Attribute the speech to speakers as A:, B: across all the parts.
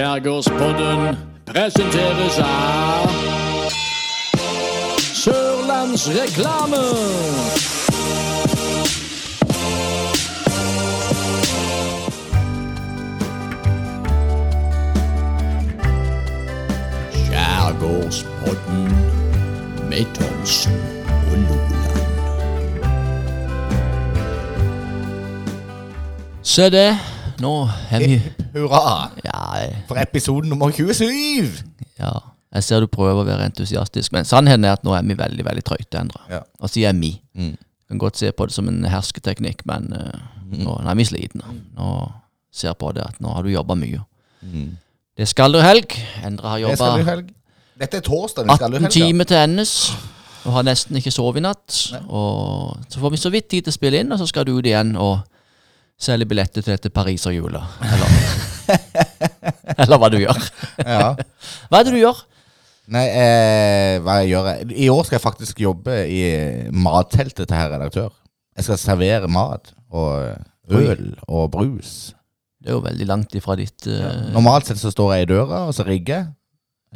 A: Skjærgårdspodden presenteres av Sørlandsreklame. Skjærgårdspodden med Thomsen og Loland.
B: Se det. Nå er vi
C: Hurra
B: Ja, jeg-
C: for episode nummer 27!
B: ja. Jeg ser du prøver å være entusiastisk, men sannheten er at nå er vi veldig veldig trøyte. Endre.
C: Ja. Mm.
B: Og sier jeg vi. Kan godt se på det som en hersketeknikk, men eh, nå, nå er vi
C: Mm.
B: slitne. Nå ser jeg på det at nå har du jobba mye. Det skal du helg. Endre har
C: Mm. Det skal du i
B: jobba
C: helg. Dette er torsdag. Vi skal du i helg.
B: 18 timer til endes. Og har nesten ikke sovet i natt. Og så får vi så vidt tid til å spille inn, og så skal du ut igjen og selge billetter til dette pariserhjulet. Eller, eller hva du gjør.
C: Ja.
B: Hva er det du gjør?
C: Nei, eh, hva jeg gjør jeg? I år skal jeg faktisk jobbe i matteltet til herr redaktør. Jeg skal servere mat og øl og brus.
B: Det er jo veldig langt ifra ditt eh,
C: Normalt sett så står jeg i døra, og så rigger jeg.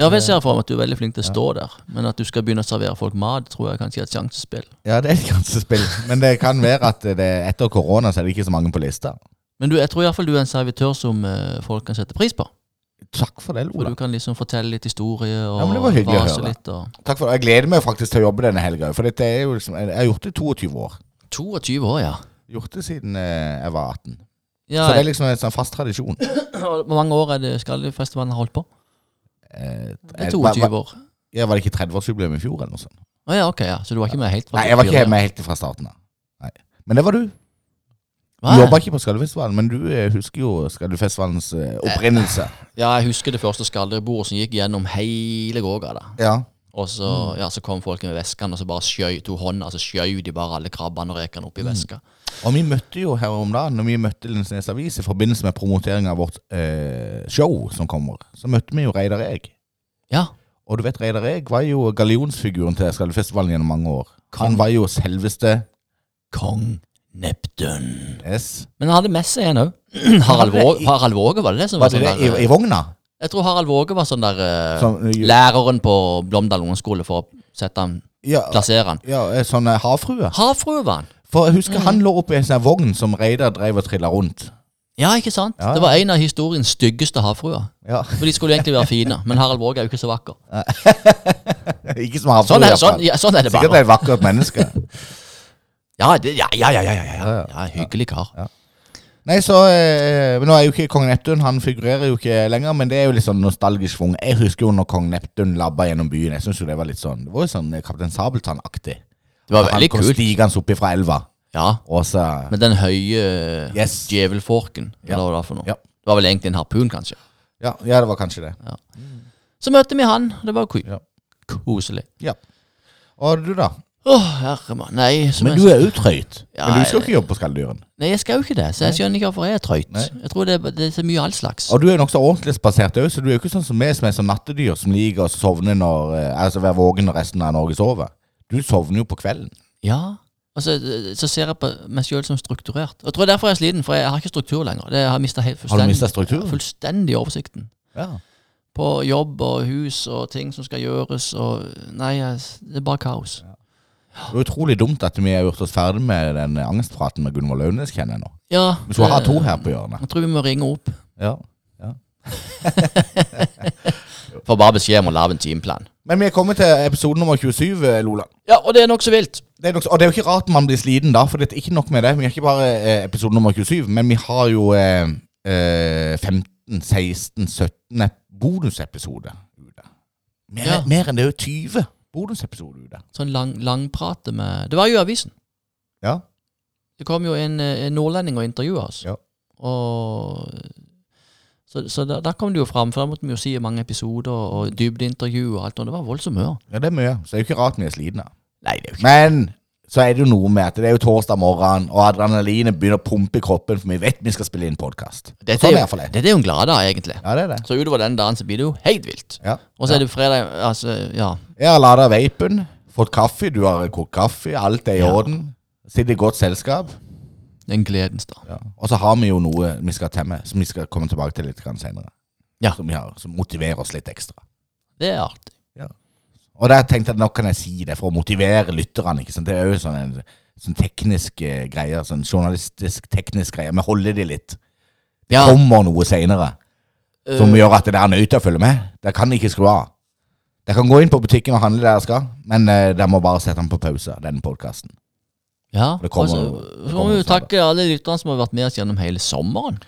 B: Ja, jeg ser for meg at du er veldig flink til å stå der, men at du skal begynne å servere folk mat, tror jeg kanskje er et sjansespill.
C: Ja, det er et ganske spill. Men det kan være at det, etter korona så er det ikke så mange på lista.
B: Men du, jeg tror iallfall du er en servitør som eh, folk kan sette pris på.
C: Takk for det,
B: For
C: Lola.
B: du kan liksom fortelle litt historie og
C: Ja, men det var hyggelig å
B: rase
C: høre.
B: litt. Og...
C: Takk for det. Jeg gleder meg faktisk til å jobbe denne helga. For dette er jo liksom, jeg har gjort det i 22 år.
B: 22 år, ja.
C: Gjort det siden eh, jeg var 18.
B: ja
C: Så det er liksom en sånn fast tradisjon.
B: og Hvor mange år er det Skallefestivalen har holdt på?
C: Eh,
B: Det
C: eh,
B: er
C: hva-
B: 22
C: hva-
B: år.
C: Ja, Var det ikke 30-årsjubileum i fjor? eller noe sånt?
B: Å ja, ok, ja. Så du var ikke med helt fra
C: Nei, jeg var ikke
B: 24,
C: med helt fra starten av. Nei. Men det var du.
B: ja.
C: Du jobba
B: Hva?
C: ikke på Skallefestivalen, men du eh, husker jo Skallefestivalens eh, opprinnelse.
B: Ja, jeg husker det første skallebordet som gikk gjennom hele gågata.
C: Ja.
B: Og
C: Mm.
B: så, ja, så kom folk med veskene, og så bare skjøy, to hånder, så skjøy de bare alle krabbene og rekene opp i
C: Mm.
B: veska.
C: Og vi møtte jo her om dagen, når vi møtte Lindesnes Avis i forbindelse med promotering av vårt eh, show som kommer, så møtte vi jo Reidar Eeg.
B: Ja,
C: Og du vet, Reidar Eeg var jo gallionsfiguren til Skallefestivalen gjennom mange år. Han var jo selveste
B: kong Neptun.
C: S.
B: Men han hadde med seg en òg. Harald, Våg- Harald Våge, var det det som
C: Var
B: var,
C: det det
B: sånn der?
C: i, i vogna?
B: Jeg tror Harald Våge var sånn der eh,
C: Sånn, eh,
B: læreren på Blomdal ungdomsskole for å sette han,
C: ja,
B: plassere han.
C: ja, eh, sånn eh, havfrue.
B: Havfrue var han.
C: For jeg
B: Mm.
C: husker han lå oppi en sånn vogn som Reidar drev og trilla rundt.
B: Ja, ikke sant?
C: Ja, ja.
B: Det var en av historiens styggeste havfruer.
C: Ja,
B: For de skulle jo egentlig være fine, men Harald Våge er jo ikke så vakker.
C: Ikke som havfrue.
B: Sånn
C: i
B: er,
C: hvert fall.
B: sånn, ja, sånn er det
C: Sikkert
B: bare.
C: et vakkert menneske.
B: Ja, det, ja, ja, ja, ja, ja, ja.
C: ja.
B: ja hyggelig kar.
C: Nei, så eh, men Nå er jo ikke kong Neptun Han figurerer jo ikke lenger, men det er jo litt sånn nostalgisk schwung. Jeg husker jo når kong Neptun labba gjennom byen. Jeg synes jo Det var litt sånn Det var jo sånn eh, Kaptein Sabeltann-aktig.
B: Det var
C: Han
B: veldig
C: kom
B: kult.
C: stigende opp ifra elva,
B: Ja,
C: og så
B: Med den høye
C: Yes.
B: djevelforken.
C: Ja.
B: Eller hva det var for noe.
C: Ja.
B: Det var vel egentlig en harpun, kanskje.
C: ja, ja, det var kanskje det.
B: Så møtte vi han. Det var jo
C: Ja.
B: koselig.
C: Ja. Og du, da?
B: Å, herre mann. Nei, som
C: Men
B: jeg,
C: du er jo trøyt.
B: Ja,
C: men du skal jo ikke jobbe på Skalldyren.
B: nei, jeg skal jo ikke det, så jeg skjønner ikke hvorfor jeg er trøyt. Jeg tror det, er- det er så mye all slags.
C: Og du er jo nokså ordentlig spasert òg, så du er jo ikke sånn som meg som er sånn nattedyr som liker å sovne når eh, Altså være våken når resten av Norge sover. Du sovner jo på kvelden.
B: Ja. Og så, så ser jeg på meg sjøl som strukturert. Og jeg tror derfor jeg er sliten, for jeg har ikke struktur lenger. Det har jeg mistet
C: Har
B: helt
C: du
B: fullstendig,
C: mistet strukturen?
B: fullstendig oversikten.
C: Ja.
B: På jobb og hus og ting som skal gjøres og Nei, jeg, det er bare kaos.
C: Det er utrolig dumt at vi har gjort oss ferdig med den angstpraten med Gunvor Launes, kjenner jeg nå.
B: Ja.
C: Vi skulle ha
B: det-
C: to her på hjørnet.
B: Jeg tror vi må ringe opp.
C: Ja.
B: Får bare beskjed om å lage en timeplan.
C: Men vi er kommet til episode nummer 27, eh, Lola.
B: Ja, og det er nokså vilt.
C: Det er nok, og det er jo ikke rart man blir sliten da, for det er ikke nok med det. Vi er ikke bare eh, episode nummer 27, men vi har jo eh, eh, 15, 16, 17 ep- bonusepisoder ute. Mer,
B: Ja.
C: mer enn det er jo 20 bonusepisoder ute.
B: Sånn lang, langprate med Det var jo i avisen.
C: Ja.
B: Det kom jo en, eh, en nordlending og intervjua oss.
C: Ja.
B: Og Så, så da, da kom det jo fram, for da måtte vi jo si mange episoder og dybdeintervju og alt, og det var voldsomt mye.
C: ja, det er mye. Så det er jo ikke rart vi er sliten da.
B: Nei, det er jo ikke
C: Men så er det jo noe med at det er jo torsdag morgen, og adrenalinet begynner å pumpe i kroppen, for vi vet vi skal spille inn podkast.
B: Dette
C: Sånn er
B: er, jo,
C: iallfall det.
B: dette er jo en gladdag, egentlig.
C: Ja, det er det.
B: Så utover den dagen så blir det jo helt vilt.
C: Ja.
B: Og så er det fredag Altså, ja.
C: Jeg har lada vapen, fått kaffe, du har kokt kaffe, alt er i
B: Ja.
C: orden. Sitter i godt selskap.
B: En gledens dag.
C: Og så har vi jo noe vi skal temme, som vi skal komme tilbake til litt grann senere.
B: Ja.
C: som, vi har, som motiverer oss litt ekstra.
B: Det er artig.
C: Og der tenkte jeg at nå kan jeg si det for å motivere lytterne. ikke sant? Det er jo sånn en sånn teknisk eh, greie, sånn journalistisk teknisk greie. Vi holder de litt. Det
B: Ja. Eh.
C: kommer noe seinere som gjør at det er nødt til å følge med. Dere kan ikke skru av. Dere kan gå inn på butikken og handle det dere skal, men eh, dere må bare sette den på pause, den podkasten.
B: Ja,
C: det kommer-
B: altså,
C: det
B: så må
C: kommer
B: vi jo
C: snart.
B: takke alle lytterne som har vært med oss gjennom hele sommeren.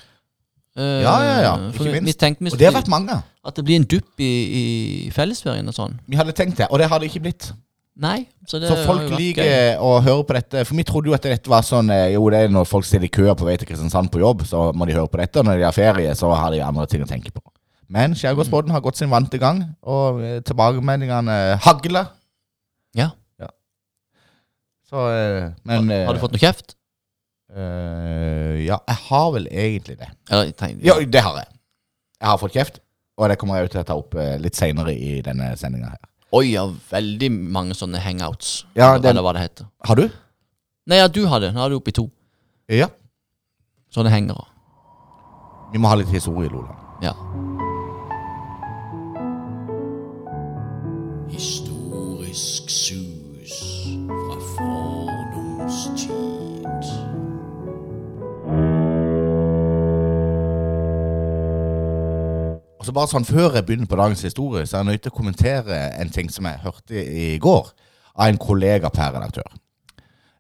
B: Eh,
C: Ja, ja, ja,
B: for
C: ikke
B: vi-
C: minst.
B: Vi tenkte vi
C: Og det har
B: skulle,
C: vært mange.
B: at det blir en dupp i, i fellesferien og sånn.
C: Vi hadde tenkt det, og det har det ikke blitt.
B: Nei, så det
C: Så
B: har
C: folk
B: jo vært gøy.
C: liker å høre på dette. For vi trodde jo at dette var sånn eh, Jo, det er når folk stiller i køer på vei til Kristiansand på jobb, så må de høre på dette. Og når de har ferie, så har de andre ting å tenke på. Men Skjærgårdsbåten har gått sin vante gang, og eh, tilbakemeldingene eh, hagler.
B: Ja.
C: Så eh, Men
B: Har- Har
C: eh,
B: du fått noe kjeft?
C: eh, Ja, jeg har vel egentlig det.
B: Eller, jeg tenkte,
C: Ja, det har jeg. Jeg har fått kjeft, og det kommer jeg jo til å ta opp eh, litt seinere i denne sendinga her.
B: Oi, ja, veldig mange sånne hangouts.
C: Ja, det-
B: Eller hva det heter.
C: Har du?
B: Nei, ja, du hadde. Nå er du oppe i to
C: Ja.
B: sånne hengere.
C: Vi må ha litt historie, Lola.
B: Ja.
A: Historisk sus fra fordomstid.
C: Og så bare sånn Før jeg begynner på dagens historie, så er jeg nødt til å kommentere en ting som jeg hørte i går av en kollega per redaktør.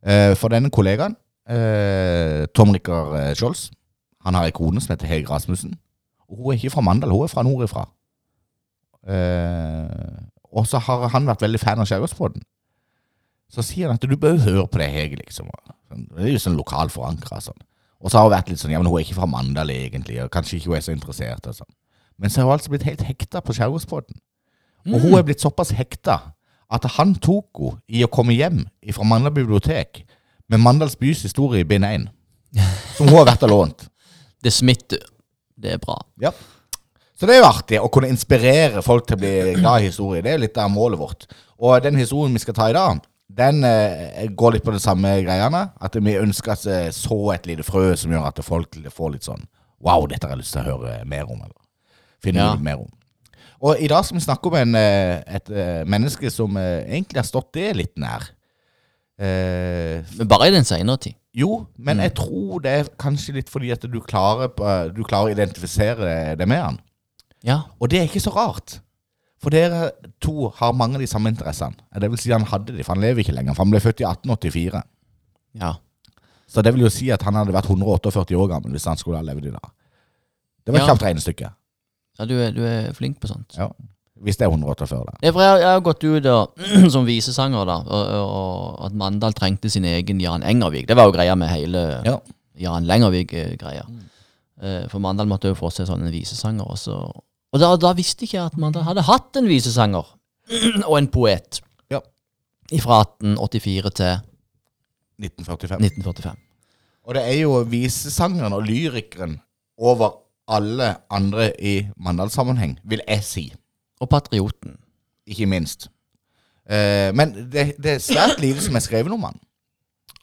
C: Eh, For denne kollegaen, eh, Tom Rikard eh, Skjolds, han har ei kone som heter Hege Rasmussen. Og hun er ikke fra Mandal, hun er fra nordifra. Eh, Og så har han vært veldig fan av Skjærgårdsbåten. Så sier han at du bør jo høre på det, Hege, liksom. Sånn, Det er jo sånn lokal forankra sånn. Og så har hun vært litt sånn ja, men hun er ikke fra Mandal egentlig, og kanskje ikke hun er så interessert og sånn. Men så har hun altså blitt helt hekta på skjærgårdsbåten. Og hun er blitt såpass hekta at han tok henne i å komme hjem fra Mandal bibliotek med Mandals bys historie i bind 1. Som hun har vært og lånt.
B: Det smitter. Det er bra.
C: Ja. Så det er jo artig å kunne inspirere folk til å bli glad i historie. Det er jo litt av målet vårt. Og den historien vi skal ta i dag, den eh, går litt på det samme greiene. At vi ønsker at det så et lite frø som gjør at folk får litt sånn Wow, dette har jeg lyst til å høre mer om. Eller finne
B: Ja.
C: ut mer om. Og i dag skal vi snakke om en, eh, et eh, menneske som eh, egentlig har stått det litt nær. Eh,
B: Men bare i den senere tid.
C: jo, men jeg tror det er kanskje litt fordi at du klarer, på- du klarer å identifisere deg med han.
B: Ja.
C: Og det er ikke så rart. For dere to har mange av de samme interessene. Det vil si han hadde de, for han lever ikke lenger. For han ble født i 1884.
B: Ja.
C: Så det vil jo si at han hadde vært 148 år gammel hvis han skulle ha levd i dag. Det var et
B: Ja.
C: kjapt regnestykke.
B: ja du, er, du er flink på sånt.
C: Ja. Hvis det er 148, da.
B: Nei, for jeg, jeg har gått ut og, som visesanger, da, og, og at Mandal trengte sin egen Jan Engervik. Det var jo greia med hele
C: Ja. Mm.
B: Jan Lengervik-greia. Eh, For Mandal måtte jo få seg sånn en visesanger. Og, så, og da, da visste ikke jeg at Mandal hadde hatt en visesanger og en poet
C: Ja.
B: fra 1884 til
C: 1945.
B: 1945.
C: Og det er jo visesangeren og lyrikeren over alle andre i Mandal-sammenheng, vil jeg si.
B: Og Patrioten.
C: ikke minst. Eh, men det, det er svært lite som er skrevet om han.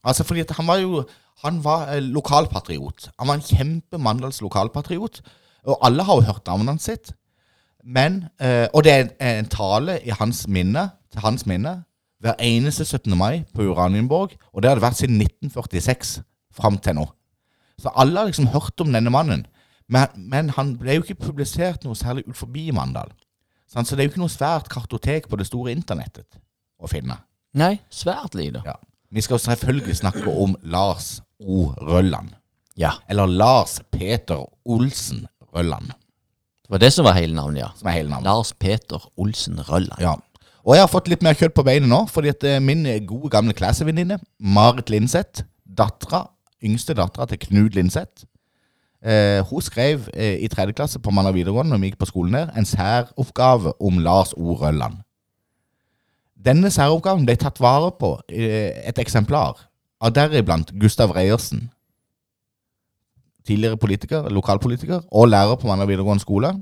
C: Altså fordi at han var jo Han var eh, lokalpatriot. Han var en kjempe Mandals lokalpatriot. Og alle har jo hørt navnet hans sitt. Men, eh, og det er en, en tale i hans minne, til hans minne hver eneste 17. mai på Uranienborg. Og det har det vært siden 1946 fram til nå. Så alle har liksom hørt om denne mannen. Men, men han ble jo ikke publisert noe særlig ut forbi Mandal. Sant? Så det er jo ikke noe svært kartotek på det store internettet å finne.
B: Nei, svært lite.
C: Ja. Vi skal jo selvfølgelig snakke om Lars O. Rølland.
B: Ja.
C: Eller Lars Peter Olsen Rølland,
B: Det var det som var hele navnet, ja.
C: som er hele navnet.
B: Lars Peter Olsen Rølland.
C: Ja. Og jeg har fått litt mer kjøtt på beinet nå, fordi at eh, min gode gamle klassevenninne, Marit Lindseth, dattera, yngste dattera til Knud Lindseth, eh, hun skrev eh, i tredje klasse på Manna videregående, når vi gikk på skolen der, en særoppgave om Lars O. Rølland. Denne særoppgaven ble tatt vare på eh, et eksemplar av deriblant Gustav Reiersen. Tidligere politiker, lokalpolitiker, og lærer på Manna videregående skole.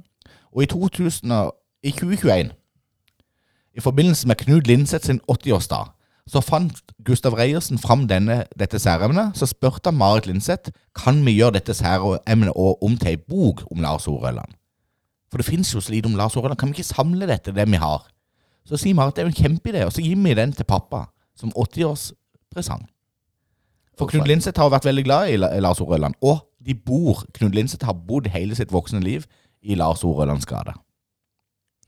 C: Og i, 2000, og- i 2021 i forbindelse med Knud Lindseth sin 80-årsdag så fant Gustav Reiersen fram denne, dette særemnet. Så spurte han Marit Lindseth kan vi gjøre dette særemnet og om til ei bok om Lars Orøland. For det fins jo så lite om Lars Årdal. Kan vi ikke samle dette, det vi har? Så sier vi at det er jo en kjempeidé, og så gir vi den til pappa som 80-årspresang. For Knut Lindseth har vært veldig glad i La- Lars Orøland, og de bor Knut Lindseth har bodd hele sitt voksne liv i Lars Orølands gate.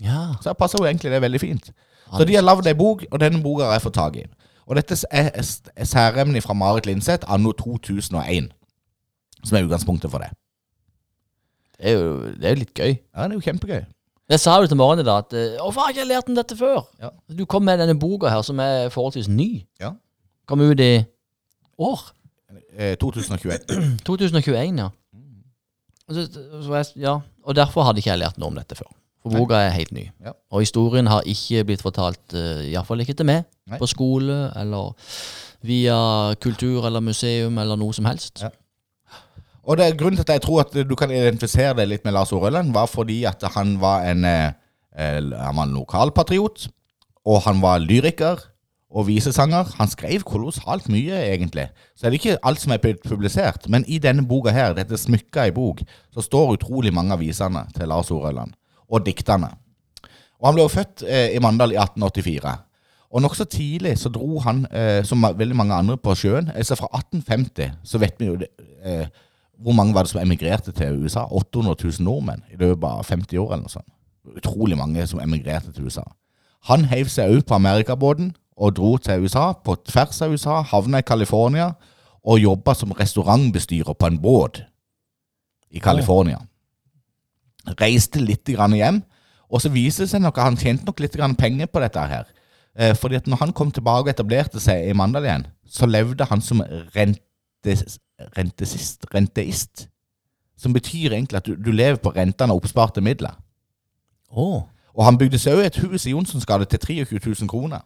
B: Ja.
C: Så her passer jo egentlig det veldig fint. Så de har lagd ei bok, og denne boka har jeg fått tak i. Og dette er s- er særemnet fra Marit Lindseth anno 2001, som er utgangspunktet for det.
B: Det er jo det er jo litt gøy.
C: Ja, det er jo kjempegøy.
B: Jeg sa jo til morgenen i dag at eh, 'Å, faen, jeg har lært om dette før'.
C: Ja.
B: Du kom med denne boka her, som er forholdsvis ny.
C: Ja.
B: Kom ut i år.
C: Eh, 2021.
B: 2021, ja. Og, så, så jeg, ja. og derfor hadde ikke jeg lært noe om dette før. For boka er helt ny.
C: Ja.
B: Og historien har ikke blitt fortalt, uh, iallfall ikke til meg,
C: Nei.
B: på skole eller via kultur eller museum eller noe som helst.
C: Ja. Og det, er grunnen til at jeg tror at du kan identifisere deg litt med Lars Orøland, var fordi at han var en, eh, eh, han var en lokalpatriot, og han var lyriker og visesanger. Han skrev kolossalt mye, egentlig. Så er det ikke alt som er blitt publisert, men i denne boka her, dette smykka i bok, så står utrolig mange av visene til Lars Orøland, og diktene. Og han ble jo født eh, i Mandal i 1884. Og nokså tidlig så dro han, eh, som ma- veldig mange andre, på sjøen. Altså fra 1850 så vet vi jo det, eh, hvor mange var det som emigrerte til USA? 800 000 nordmenn i løpet av 50 år eller noe sånt. Utrolig mange som emigrerte til USA. Han heiv seg ut på amerikabåten og dro til USA, på tvers av USA, havna i California og jobba som restaurantbestyrer på en båt i California. Reiste litt grann hjem, og så viser det seg nok at han tjente nok litt grann penger på dette her. Eh, Fordi at når han kom tilbake og etablerte seg i Mandal igjen, så levde han som rentes, rentesist, renteist. Som betyr egentlig at du, du lever på rentene av oppsparte midler.
B: Å.
C: Og han bygde seg òg et hus i Johnsonsgade til 23 000 kroner.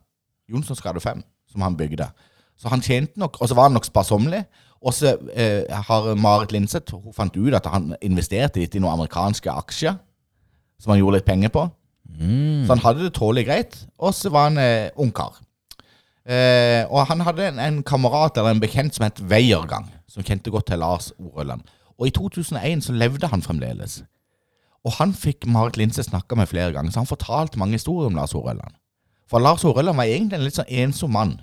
C: Johnsonsgade 5, som han bygde. Så han tjente nok, og så var han nok sparsommelig. Og så eh, har Marit Lindseth hun fant ut at han investerte litt i noen amerikanske aksjer. Som han gjorde litt penger på. Så han hadde det tålelig greit. Og så var han eh, ungkar. Eh, og han hadde en, en kamerat eller en bekjent som het Veiergang, som kjente godt til Lars Orøland. Og i 2001 så levde han fremdeles. Og han fikk Marit Lindseth snakka med flere ganger, så han fortalte mange historier om Lars Horelland. For Lars Horelland var egentlig en litt sånn ensom mann.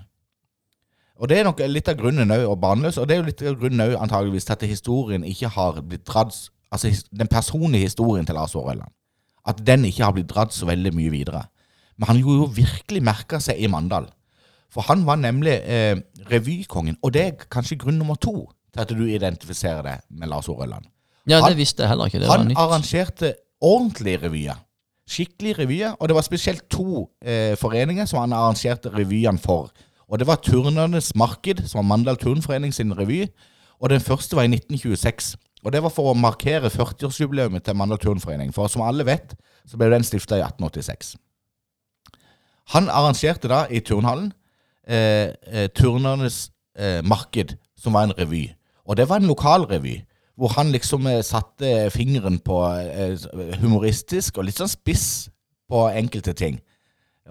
C: Og det er nok litt av grunnen òg, og barnløs, og det er jo litt av grunnen òg antageligvis til at historien ikke har blitt dratt Altså his- den personlige historien til Lars Horelland. At den ikke har blitt dratt så veldig mye videre. Men han gjorde jo virkelig merka seg i Mandal. For han var nemlig eh, revykongen, og det er kanskje grunn nummer to til at du identifiserer deg med Lars Horelland.
B: Ja,
C: Han-
B: det visste jeg heller ikke. Det var
C: Han
B: nytt.
C: arrangerte ordentlige revyer. Skikkelige revyer. Og det var spesielt to eh, foreninger som han arrangerte revyene for. Og det var Turnernes Marked, som var Mandal Turnforening sin revy. Og den første var i 1926. Og det var for å markere 40-årsjubileet til Mandal Turnforening. For som alle vet, så ble den stifta i 1886. Han arrangerte da i turnhallen eh, eh, Turnernes eh, Marked, som var en revy. Og det var en lokal revy, hvor han liksom eh, satte fingeren på eh, humoristisk og litt sånn spiss på enkelte ting.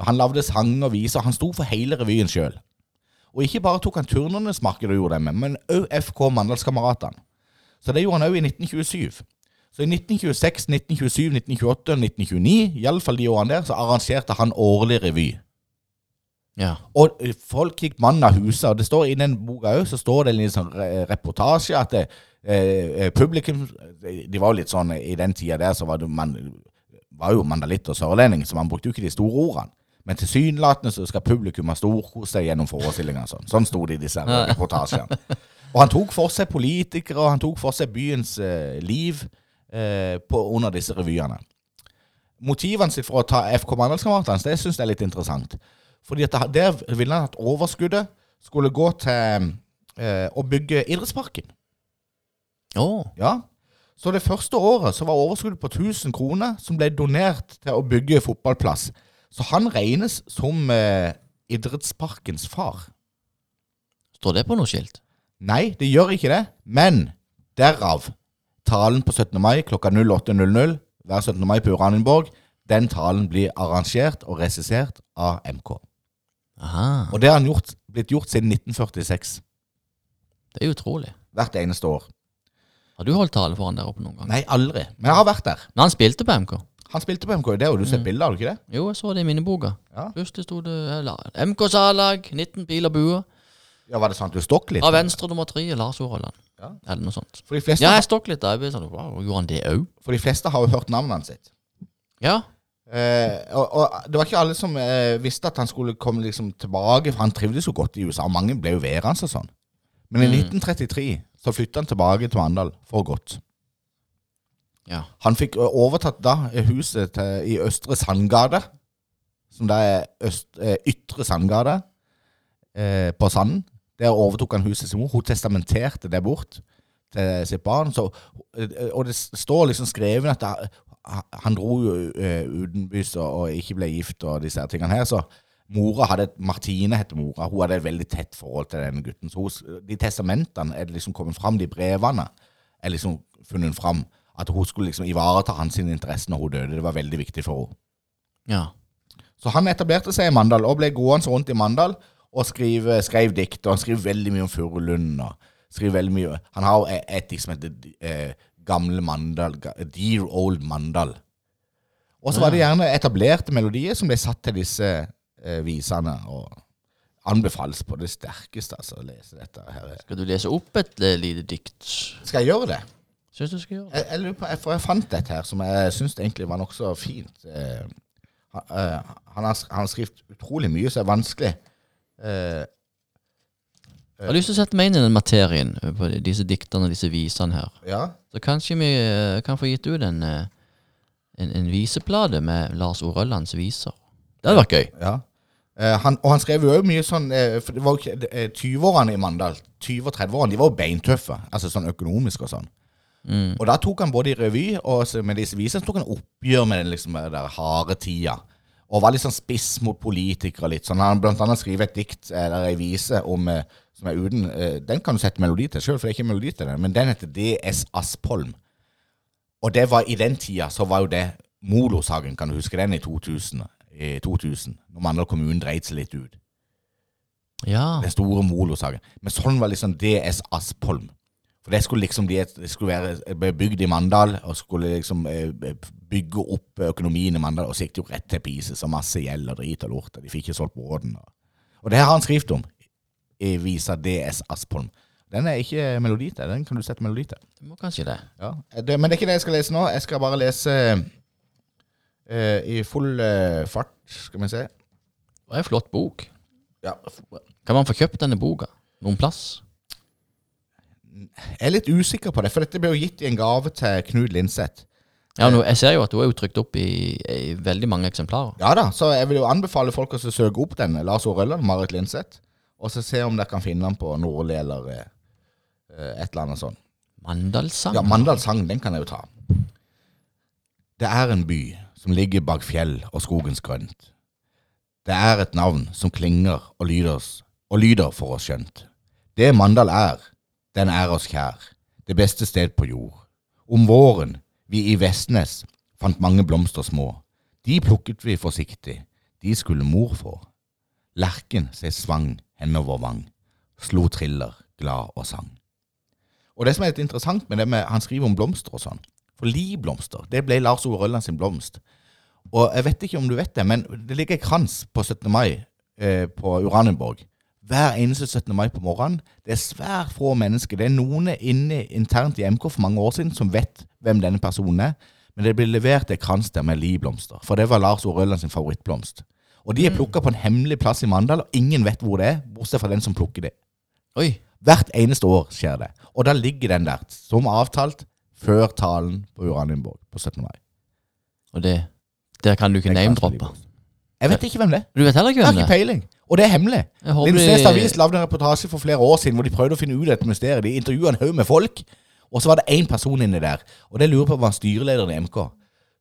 C: Han lagde sang og viser, han sto for hele revyen sjøl. Og ikke bare tok han Turnernes Marked og gjorde det med, men òg FK Mandalskameratene. Så det gjorde han òg i 1927. Så i 1926, 1927, 1928 og 1929, iallfall de årene der, så arrangerte han årlig revy.
B: Ja.
C: Og eh, folk gikk mann av huset, og det står i den boka òg, så står det en liten sånn re- reportasje at det, eh, eh, publikum eh, De var jo litt sånn eh, i den tida der, så var det man var jo mandalitt og sørlending, så man brukte jo ikke de store ordene. Men tilsynelatende så skal publikum ha storkose seg gjennom forestillingene. og Sånn Sånn sto det i disse her reportasjene. Og han tok for seg politikere, og han tok for seg byens eh, liv eh, på, under disse revyene motivene sitt for å ta FK Mandalskameratene, det syns jeg er litt interessant. Fordi at der ville han at overskuddet skulle gå til eh, å bygge idrettsparken.
B: Å.
C: Ja. Så det første året så var overskuddet på 1000 kroner som ble donert til å bygge fotballplass. Så han regnes som eh, idrettsparkens far.
B: Står det på noe skilt?
C: Nei, det gjør ikke det, men derav talen på 17. mai klokka 08.00 hver 17. mai på Uranienborg, den talen blir arrangert og regissert av MK.
B: Aha.
C: Og det har han gjort, blitt gjort siden 1946.
B: Det er utrolig.
C: Hvert eneste år.
B: Har du holdt tale for han der oppe noen gang?
C: Nei, aldri. Men jeg har vært der.
B: Men han spilte på MK.
C: Han spilte på MK, det har jo du sett bilde av, har du ikke det?
B: Jo, jeg så det i minneboka.
C: Ja.
B: Plutselig sto det eh, eller, MK-salag, 19 pil og bue.
C: Ja, Var det sånn at du stokk litt?
B: Av venstre nummer tre Lars Årland.
C: Ja.
B: Eller noe sånt.
C: For de fleste,
B: Ja, jeg stokk litt da. Jeg ble sånn, wow, Gjorde han det òg?
C: for de fleste har jo hørt navnet hans sitt.
B: Ja.
C: Eh, og, og det var ikke alle som eh, visste at han skulle komme liksom tilbake, for han trivdes jo godt i USA. Mange ble jo værende og sånn. Men i 1933 så flytta han tilbake til Mandal for godt.
B: ja.
C: Han fikk eh, overtatt da eh, huset til, i Østre Sandgade, som da er øst, eh, Ytre Sandgade eh, på Sanden. Der overtok han huset sin mor. Hun testamenterte det bort til sitt barn. Så, eh, og det s- står liksom skrevet at da- ha- han dro jo eh, utenbys og, og ikke ble gift og disse her tingene her. Så mora hadde et Martine heter mora. Hun hadde et veldig tett forhold til den gutten. Så hun, s- de testamentene er liksom kommet fram, de brevene er liksom funnet fram. At hun skulle liksom ivareta hans sine interesser når hun døde. Det var veldig viktig for henne.
B: ja.
C: Så han etablerte seg i Mandal og ble gående rundt i Mandal og skrev, skrev dikt. Og han skriver veldig mye om Furulund. og skriver veldig mye. Han har jo et- et dikt som heter eh, Gamle Mandal. Ga- Dear Old Mandal. Og så var det gjerne etablerte melodier som ble satt til disse eh, visene. og Anbefales på det sterkeste altså, å lese dette. her.
B: Skal du lese opp et eh, lite dikt?
C: Skal jeg gjøre det?
B: Syns du skal gjøre det?
C: Jeg, jeg, lurer på, jeg, for jeg fant et her som jeg syns egentlig var nokså fint. Eh, han, eh, han har, sk- han har skrevet utrolig mye som er vanskelig. Eh,
B: Jeg har lyst til å sette meg inn i den materien eh, på disse diktene og disse visene her.
C: ja.
B: Så kanskje vi eh, kan få gitt ut en, eh, en, en viseplate med Lars Orøllands viser. Det hadde vært gøy.
C: ja. Eh, han, og han skrev jo òg mye sånn eh, For det var jo ikke det- eh, 20-årene i Mandal, 20- og 30-årene, de var jo beintøffe. Altså sånn økonomisk og sånn. Og da tok han både i revy og så med disse visene så tok han oppgjør med den liksom eh, der harde tida. Og var litt sånn spiss mot politikere og litt sånn. Han har blant annet skrevet et dikt eh, eller ei vise om eh, som er uten eh, Den kan du sette melodi til sjøl, for det er ikke melodi til den, men den heter DS Aspholm. Og det var i den tida så var jo det Molo-saken, kan du huske den, i 2000? I 2000 når Mandal kommune dreit seg litt ut.
B: Ja.
C: Den store Molo-saken. Men sånn var liksom DS Aspholm. For det skulle liksom bli et, det skulle være ble bygd i Mandal, og skulle liksom eh, bygge opp økonomien i Mandal, og så gikk det jo rett til pise, så masse gjeld og drit og lort, og de fikk ikke solgt båten. Og, og det har han skrevet om i visa DS Aspholm. Den er ikke melodi til, den kan du sette melodi til.
B: Du må kanskje det.
C: Ja. Det, men det er ikke det jeg skal lese nå, jeg skal bare lese eh, i full eh, fart, skal vi se.
B: Det er en flott bok.
C: Ja,
B: Kan man få kjøpt denne boka noen plass?
C: Jeg er litt usikker på det, for dette ble jo gitt i en gave til Knut Lindseth.
B: Ja, nå, Jeg ser jo at hun er jo trykt opp i, i veldig mange eksemplarer.
C: Ja da, så jeg vil jo anbefale folk å søke opp den, Lars Orelland, Marit Lindseth, og så se om dere kan finne den på Nordli eller eh, eh, et eller annet sånt.
B: Mandalsang.
C: Ja, Mandals sang, den kan jeg jo ta. Det er en by som ligger bak fjell og skogens grønt. Det er et navn som klinger og lyder, oss- og lyder for oss skjønt. Det Mandal er, den er oss kjær, det beste sted på jord. Om våren, vi i Vestnes, fant mange blomster små. De plukket vi forsiktig, de skulle mor få. Lerken seg svang henover vang, slo triller, glad og sang. Og det som er litt interessant med det med Han skriver om blomster og sånn. For livblomster, det ble Lars Ove Rølland sin blomst. Og jeg vet ikke om du vet det, men det ligger en krans på 17. mai eh, på Uranienborg. Hver eneste 17. mai på morgenen. Det er svært få mennesker. Det er noen inne internt i MK for mange år siden som vet hvem denne personen er. Men det blir levert en krans der med livblomster. For det var Lars Ove Rølland sin favorittblomst. Og de er plukka på en hemmelig plass i Mandal, og ingen vet hvor det er, bortsett fra den som plukker det.
B: Oi.
C: Hvert eneste år skjer det. Og da ligger den der, som avtalt, før talen på Uranienborg på 17. mai.
B: Og det Der kan du ikke name-droppe.
C: Jeg vet ikke hvem det er.
B: Du vet heller ikke
C: Jeg har
B: hvem det
C: ikke
B: er?
C: peiling. Og det er hemmelig.
B: Jeg håper
C: Lindesnes
B: de-
C: Avis lagde en reportasje for flere år siden hvor de prøvde å finne ut dette mysteriet. De intervjua en haug med folk, og så var det én person inni der. Og det lurer jeg på var styrelederen i MK.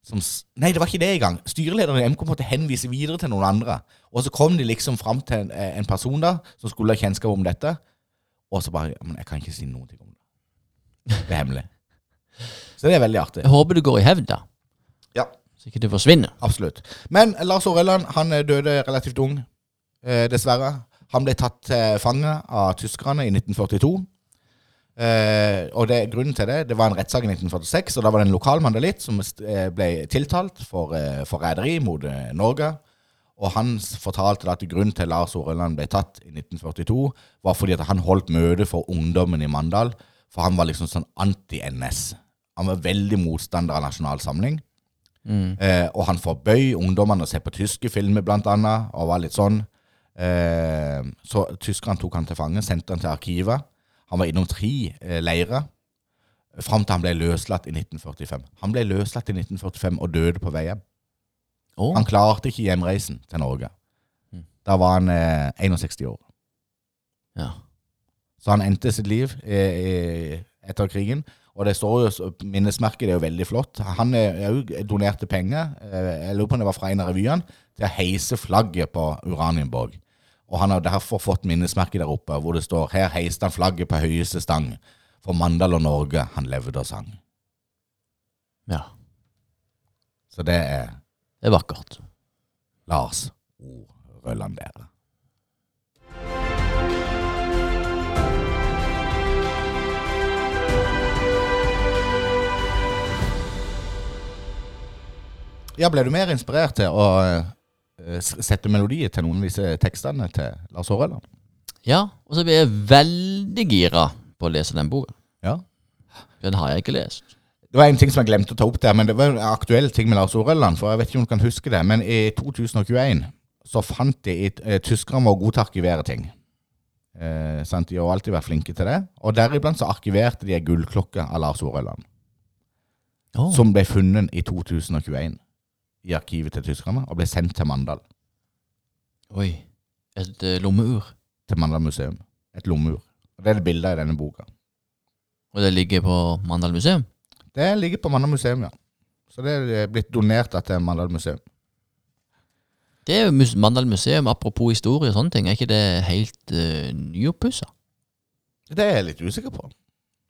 C: Som, s- nei, det var ikke det engang. Styrelederen i MK måtte henvise videre til noen andre. Og så kom de liksom fram til en, en person da som skulle ha kjennskap om dette, og så bare ja, Men jeg kan ikke si noen ting om det. Det er hemmelig. Så det er veldig artig.
B: Jeg håper det går i hevd, da.
C: Ja.
B: Så ikke det forsvinner.
C: Absolutt. Men Lars Orelland han eh, døde relativt ung, eh, dessverre. Han ble tatt til fange av tyskerne i 1942. Eh, og det, grunnen til det, det var en rettssak i 1946, og da var det en lokal mandalitt som st- eh, ble tiltalt for eh, forræderi mot eh, Norge. Og han s- fortalte da at grunnen til Lars Oreland ble tatt i 1942, var fordi at han holdt møte for ungdommen i Mandal, for han var liksom sånn anti-NS. Han var veldig motstander av Nasjonal Samling. Eh, og han forbøy ungdommene å se på tyske filmer, blant annet, og var litt sånn. Eh, så tyskerne tok han til fange, sendte han til arkivet. Han var innom tre eh, leirer, fram til han ble løslatt i 1945. Han ble løslatt i 1945 og døde på vei hjem.
B: Å,
C: Han klarte ikke hjemreisen til Norge. Da var han eh, 61 år.
B: ja.
C: Så han endte sitt liv eh, eh, etter krigen. Og det står jo, så- minnesmerket det er jo veldig flott. Han eh, er jo donerte penger, eh, jeg lurer på om det var fra en av revyene, til å heise flagget på Uranienborg. Og han har derfor fått minnesmerket der oppe, hvor det står 'Her heiste han flagget på høyeste stang'. For Mandal og Norge han levde og sang.
B: ja.
C: Så det er
B: Det er vakkert.
C: Lars O. Rølland Bære. Ja, ble du mer inspirert til å eh, s- sette melodier til noen av disse tekstene til Lars Hårelland?
B: Ja, og så blir jeg veldig gira på å lese den boka.
C: Ja.
B: Den har jeg ikke lest.
C: Det var en ting som jeg glemte å ta opp der, men det var en aktuell ting med Lars Orelland, for jeg vet ikke om du kan huske det, men i 2021 så fant de et, eh, Tyskerne var gode til å arkivere ting. Eh, sant? De har jo alltid vært flinke til det. Og deriblant så arkiverte de ei gullklokke av Lars Orelland,
B: Å,
C: som ble funnet i 2021 i arkivet til tyskerne, og ble sendt til Mandal.
B: Oi. Et eh, lommeur.
C: Til Mandal museum. Et lommeur. Og Det er det bildet i denne boka.
B: Og det ligger på Mandal museum.
C: Det ligger på Mandal museum, ja. Så det er blitt donert da til Mandal museum.
B: Det er jo mus Mandal museum, apropos historie og sånne ting. Er ikke det helt uh, nyoppussa?
C: Det er jeg litt usikker på.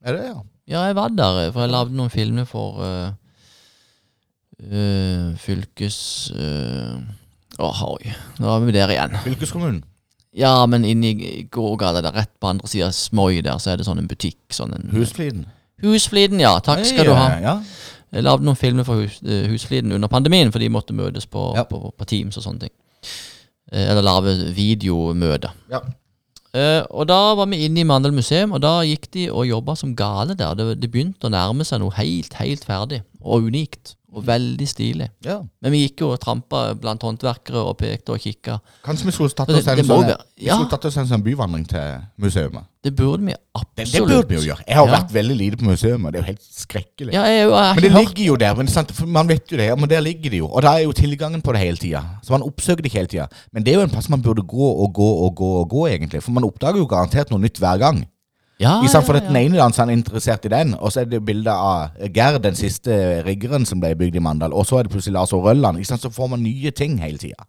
C: Er det, ja?
B: Ja, jeg var der, eh, for jeg lagde noen filmer for eh, eh, fylkes... eh, Å, oi. Nå er vi der igjen.
C: Fylkeskommunen.
B: Ja, men inni gågata der, rett på andre sida av Smøy der, så er det sånn en butikk. Sånn en
C: Husfliden.
B: Husfliden, ja. Takk skal du ha.
C: Nei, Ja.
B: Jeg lagde noen filmer for hus, eh, Husfliden under pandemien, for de måtte møtes på,
C: Ja.
B: på, på Teams og sånne ting. Eh, Eller lage videomøter.
C: Ja.
B: Eh, og da var vi inne i Mandal museum, og da gikk de og jobba som gale der. Det, det begynte å nærme seg noe helt, helt ferdig og unikt. Og veldig stilig.
C: ja.
B: Men vi gikk jo og trampa blant håndverkere og pekte og kikka.
C: Kanskje vi skulle tatt
B: Det-
C: oss en
B: det må
C: sånn
B: være-
C: Vi
B: ja.
C: skulle tatt oss en sånn byvandring til museet.
B: Det burde vi
C: Det, det
B: absolutt.
C: burde vi jo gjøre. Jeg har
B: Ja.
C: vært veldig lite på museet. Det er jo helt skrekkelig.
B: Ja, jeg, jeg, har
C: Men det
B: ikke hørt-
C: ligger jo der. Men sant, for man vet jo det. ja, Men der ligger det jo. Og da er jo tilgangen på det hele tida. Så man oppsøker det ikke hele tida. Men det er jo en plass man burde gå og gå og gå og gå, egentlig. For man oppdager jo garantert noe nytt hver gang.
B: ja,
C: I stedet for
B: Ah, ja,
C: at
B: ja.
C: den ene danseren er interessert i den, og så er det bilde av Gerd, den siste riggeren som ble bygd i Mandal, og så er det plutselig Lars og Rølland. Ikke sant? Så får man nye ting hele tida.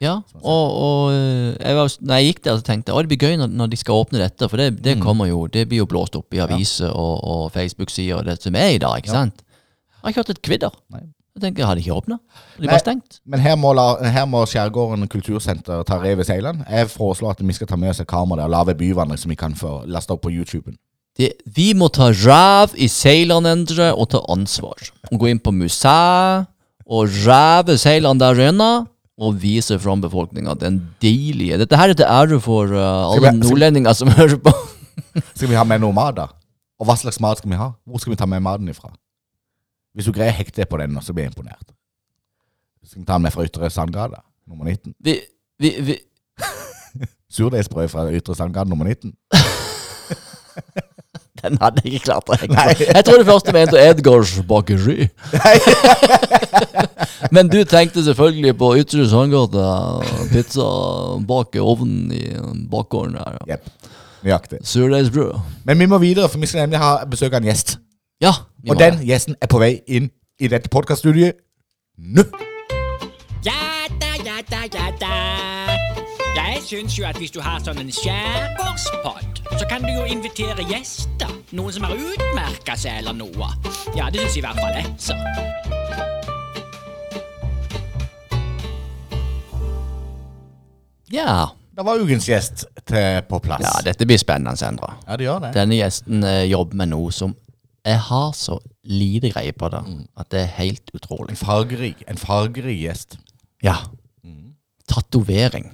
B: Ja, og, og eh, jeg var, når jeg gikk der, så tenkte jeg at det blir gøy når, når de skal åpne dette, for det, det
C: Mm.
B: kommer jo, det blir jo blåst opp i aviser og, og Facebook-sider og det som er i dag, ikke sant? Jeg har ikke hørt et kvidder. Jeg tenker, har de ikke åpna? De
C: Nei.
B: bare stengt?
C: Men her må, la, her må Skjærgården kultursenter ta rev i seilene. Jeg foreslår at vi skal ta med oss et kamera der og lage byvandring som vi kan få lasta opp på YouTuben.
B: Det, vi må ta ræv i seilene andre og ta ansvar. Og gå inn på museet og ræve seilene der inne. Og vise fram befolkninga den deilige Dette her er til ære for eh, alle
C: Skal vi- skal-
B: nordlendinger som hører på.
C: Skal vi ha med noe mat, da? Og hva slags mat skal vi ha? Hvor skal vi ta med maten ifra? Hvis du greier å hekte på den, nå, så blir jeg imponert. Skal vi ta den med fra Ytre Sandgata nummer 19?
B: Vi, vi, vi,
C: Surdeigsbrød fra Ytre Sandgata nummer 19?
B: Den hadde jeg ikke klart å henge på. Jeg tror det første mente Edgars bakeri. Men du tenkte selvfølgelig på Ytre Sandgate, pizza bak i ovnen i bakgården her. ja.
C: Jepp. Nøyaktig.
B: Surdeigsbrød.
C: Men vi må videre, for vi skal nemlig ha besøk av en gjest.
B: Ja. vi
C: Og
B: må
C: den
B: det.
C: gjesten er på vei inn i dette podkaststudioet nå.
D: Ja da, ja da, ja da. Jeg syns jo at hvis du har sånn en skjærgårdspod, så kan du jo invitere gjester. Noen som har utmerka seg eller noe. Ja, det syns i hvert fall jeg, så.
B: Ja.
C: Da var ukens gjest til, på plass.
B: Ja, dette blir spennende, Sandra.
C: Ja, det gjør det.
B: Denne gjesten eh, jobber med noe som jeg har så lite greie på det, at det er helt utrolig.
C: En fargerik, en fargerik gjest.
B: Ja. Mm. Tatovering.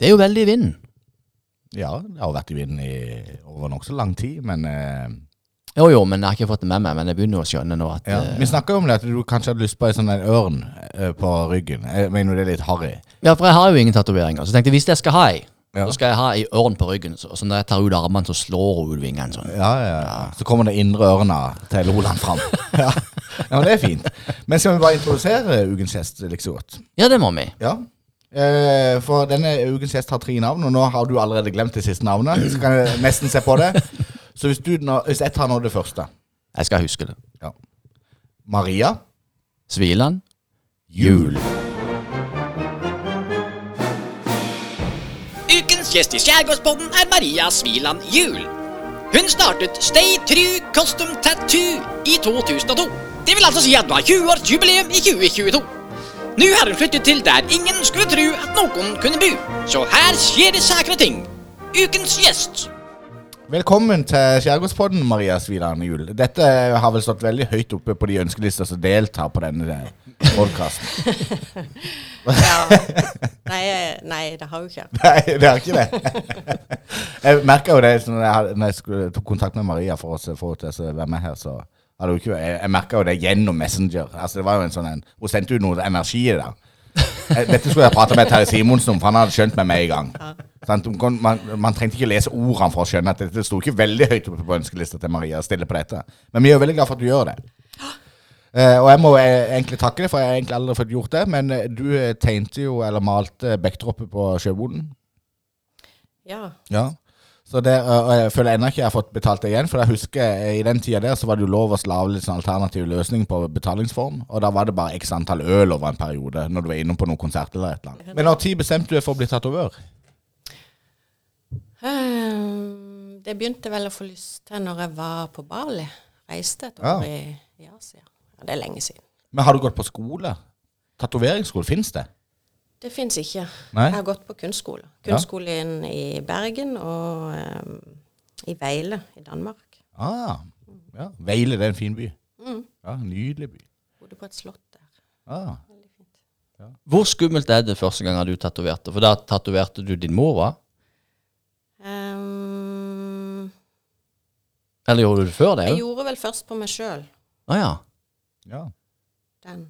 B: Det er jo veldig i vinden.
C: Ja, det har vært i vinden i over nokså lang tid, men eh,
B: Jo, jo, men jeg har ikke fått det med meg. Men jeg begynner jo å skjønne nå at
C: ja.
B: eh,
C: Vi snakka jo om det at du kanskje hadde lyst på en sånn en ørn eh, på ryggen. Jeg mener jo det er litt harry.
B: Ja, for jeg har jo ingen tatoveringer. Så jeg tenkte hvis jeg skal ha ei,
C: Ja.
B: så skal jeg ha ei ørn på ryggen. Så, så når jeg tar ut armene, så slår hun ut vingene sånn.
C: Ja, ja, ja. Så kommer det indre ørna til Roland fram. ja. ja, men det er fint. Men skal vi bare introdusere ukens gjest like så godt?
B: Ja, det må vi.
C: Ja. Eh, for denne ukens gjest har tre navn, og nå har du allerede glemt det siste navnet. Så kan jeg nesten se på det. Så hvis, du, nå- hvis jeg tar nå det første
B: Jeg skal huske det.
C: ja. Maria
B: Sviland.
C: Jul.
D: Ukens gjest i Skjærgårdspodden er Maria Sviland Juel. Hun startet Stay True Custom Tattoo i 2002. Det vil altså si at hun har 20-årsjubileum i 2022. Nå har hun flyttet til der ingen skulle tro at noen kunne bo. Så her skjer det sakre ting. Ukens gjest.
C: Velkommen til Skjærgårdspodden, Maria Sviland Jul. Dette har vel stått veldig høyt oppe på de ønskelister som deltar på denne podkasten.
E: Ja. Nei, eh, nei, det har jo ikke.
C: Nei, det er ikke det. Jeg merka jo det sånn når jeg, hadde- når jeg skulle, tok kontakt med Maria for å se- få henne til å være med her. så hadde hun ikke, Jeg, jeg merka jo det gjennom Messenger. Altså, det var jo en sånn en, Hun sendte ut noe energi i det. Eh, Dette skulle jeg prata med Terje Simonsen om, for han hadde skjønt meg med en gang. Sant? Hun kon- man, man trengte ikke lese ordene for å skjønne at dette sto ikke veldig høyt oppe på ønskelista til Maria å stille på dette. Men vi er jo veldig glad for at du gjør det. Eh, og jeg må eh, egentlig takke deg, for jeg har egentlig aldri fått gjort det. Men eh, du eh, tegnte jo, eller malte, Bekkdroppet på Sjøboden.
E: Ja.
C: Ja. Så det, og og jeg føler ennå ikke jeg har fått betalt det igjen, for jeg husker eh, i den tida der så var det jo lov å slave litt sånn alternativ løsning på betalingsform, og da var det bare x antall øl over en periode når du var innom på noen konsert eller et eller annet. Men når tid bestemte du deg for å bli tatovør?
E: Ehm, Det begynte vel å få lyst til når jeg var på Bali. Reiste et
C: Ja.
E: år i, i Asia. Ja, det er lenge siden.
C: Men har du gått på skole? Tatoveringsskole, fins det?
E: Det fins ikke.
C: Nei?
E: Jeg har gått på kunstskole. Kunstskolen i Bergen og ehm, i Veile i Danmark.
C: Ah, ja. Veile, det er en fin by. Ja, Nydelig by.
E: Bodde på et slott der.
C: Ah.
B: Hvor skummelt er det første gangen du tatoverte? For da tatoverte du din mor, hva?
E: Ehm,
B: Eller gjorde du det før det?
E: jeg
B: jo?
E: gjorde vel først på meg sjøl
B: Å ja.
C: Ja.
E: den.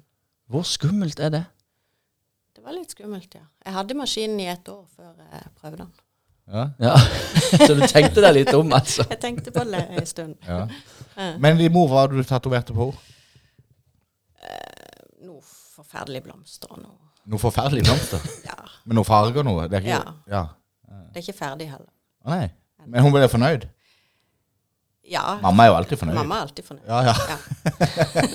B: Hvor skummelt er det?
E: Det var litt skummelt, ja. Jeg hadde maskinen i et år før jeg prøvde den.
C: Ja.
B: Ja. Så du tenkte deg litt om, altså?
E: Jeg tenkte på det en stund.
C: ja. Men din mor, hva hadde du tatoverte på henne?
E: noe forferdelig blomster og noe.
C: Noe forferdelig blomster?
E: Ja,
C: Med noe farger og noe? Det er ikke,
E: Ja.
C: ja.
E: det er ikke ferdig heller.
C: Å, Nei. Men hun ble fornøyd?
E: Ja,
C: Mamma er jo alltid fornøyd.
E: mamma er alltid fornøyd.
C: Ja, ja.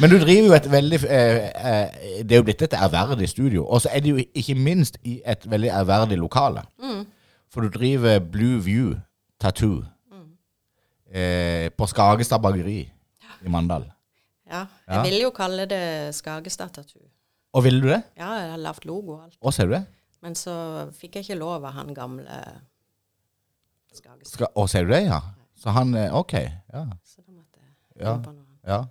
C: Men du driver jo et veldig eh, eh, Det er jo blitt et ærverdig studio. Og så er det jo ikke minst i et veldig ærverdig lokale. For du driver Blue View Tattoo eh, på Skagestad Bakeri i Mandal.
E: Ja,
C: Ja.
E: jeg ville jo kalle det Skagestad-tatu.
C: Og ville du det?
E: Ja, jeg har lagd logo og alt.
C: Å, ser du det?
E: Men så fikk jeg ikke lov av han gamle Skagestad.
C: Ska, å, ser du det, ja. Så han eh, Ok. Ja.
E: Så da måtte jeg
C: Ja.
E: jobbe på noe annet.
C: ja.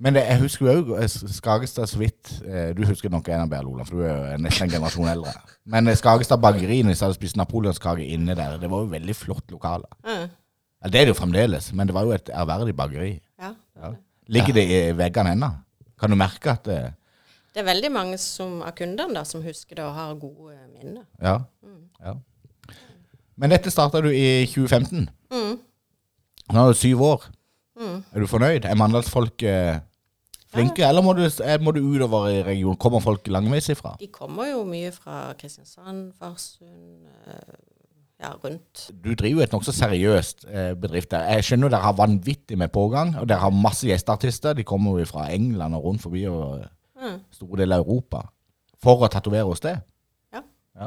C: Men det, jeg husker jo også eh, Skagestad så vidt eh, Du husker nok enda bedre, Olav, for du er jo nesten en generasjon eldre. Men eh, Skagestad bakeri, når de hadde spist napoleonskake inne der, det var jo veldig flott lokale.
E: Mm.
C: Ja, det er det jo fremdeles, men det var jo et ærverdig bakeri.
E: Ja.
C: Ja. Ligger det i veggene ennå? Kan du merke at eh, det,
E: Det er veldig mange som, av kundene da, som husker det og har gode minner.
C: ja, ja. Men dette starta du i 2015. Nå er du syv år. Er du fornøyd? Er mandalsfolk eh, flinke, eller må du, eh, må du utover i regionen? Kommer folk langveisifra?
E: De kommer jo mye fra Kristiansand, Farsund, eh, ja, rundt.
C: Du driver jo et nokså seriøst eh, bedrift der. Jeg skjønner jo dere har vanvittig med pågang, og dere har masse gjesteartister. De kommer jo fra England og rundt forbi og eh,
E: Mm.
C: store deler av Europa for å tatovere hos deg.
E: Ja.
C: Ja.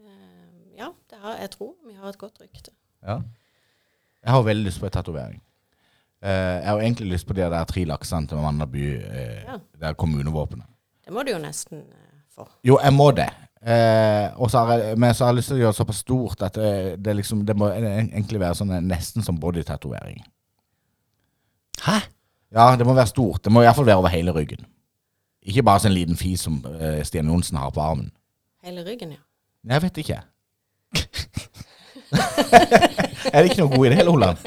E: Eh, Ja, det har, jeg tror vi har et godt rykte.
C: Ja. Jeg har veldig lyst på en tatovering. Eh, jeg har egentlig lyst på de der tre laksene til Mandal by, eh,
E: Ja.
C: det der kommunevåpenet.
E: Det må du jo nesten eh, få.
C: Jo, jeg må det. Eh, og så har jeg, men så har jeg lyst til å gjøre det såpass stort at eh, det, liksom, det må en- en- egentlig være sånn, eh, nesten som bodytatovering.
B: Hæ?
C: Ja, det må være stort. Det må iallfall være over hele ryggen. Ikke bare sånn liten fis som eh, Stian Johnsen har på armen.
E: Hele ryggen, ja.
C: Nei, Jeg vet ikke. er det ikke noe god idé, Loland?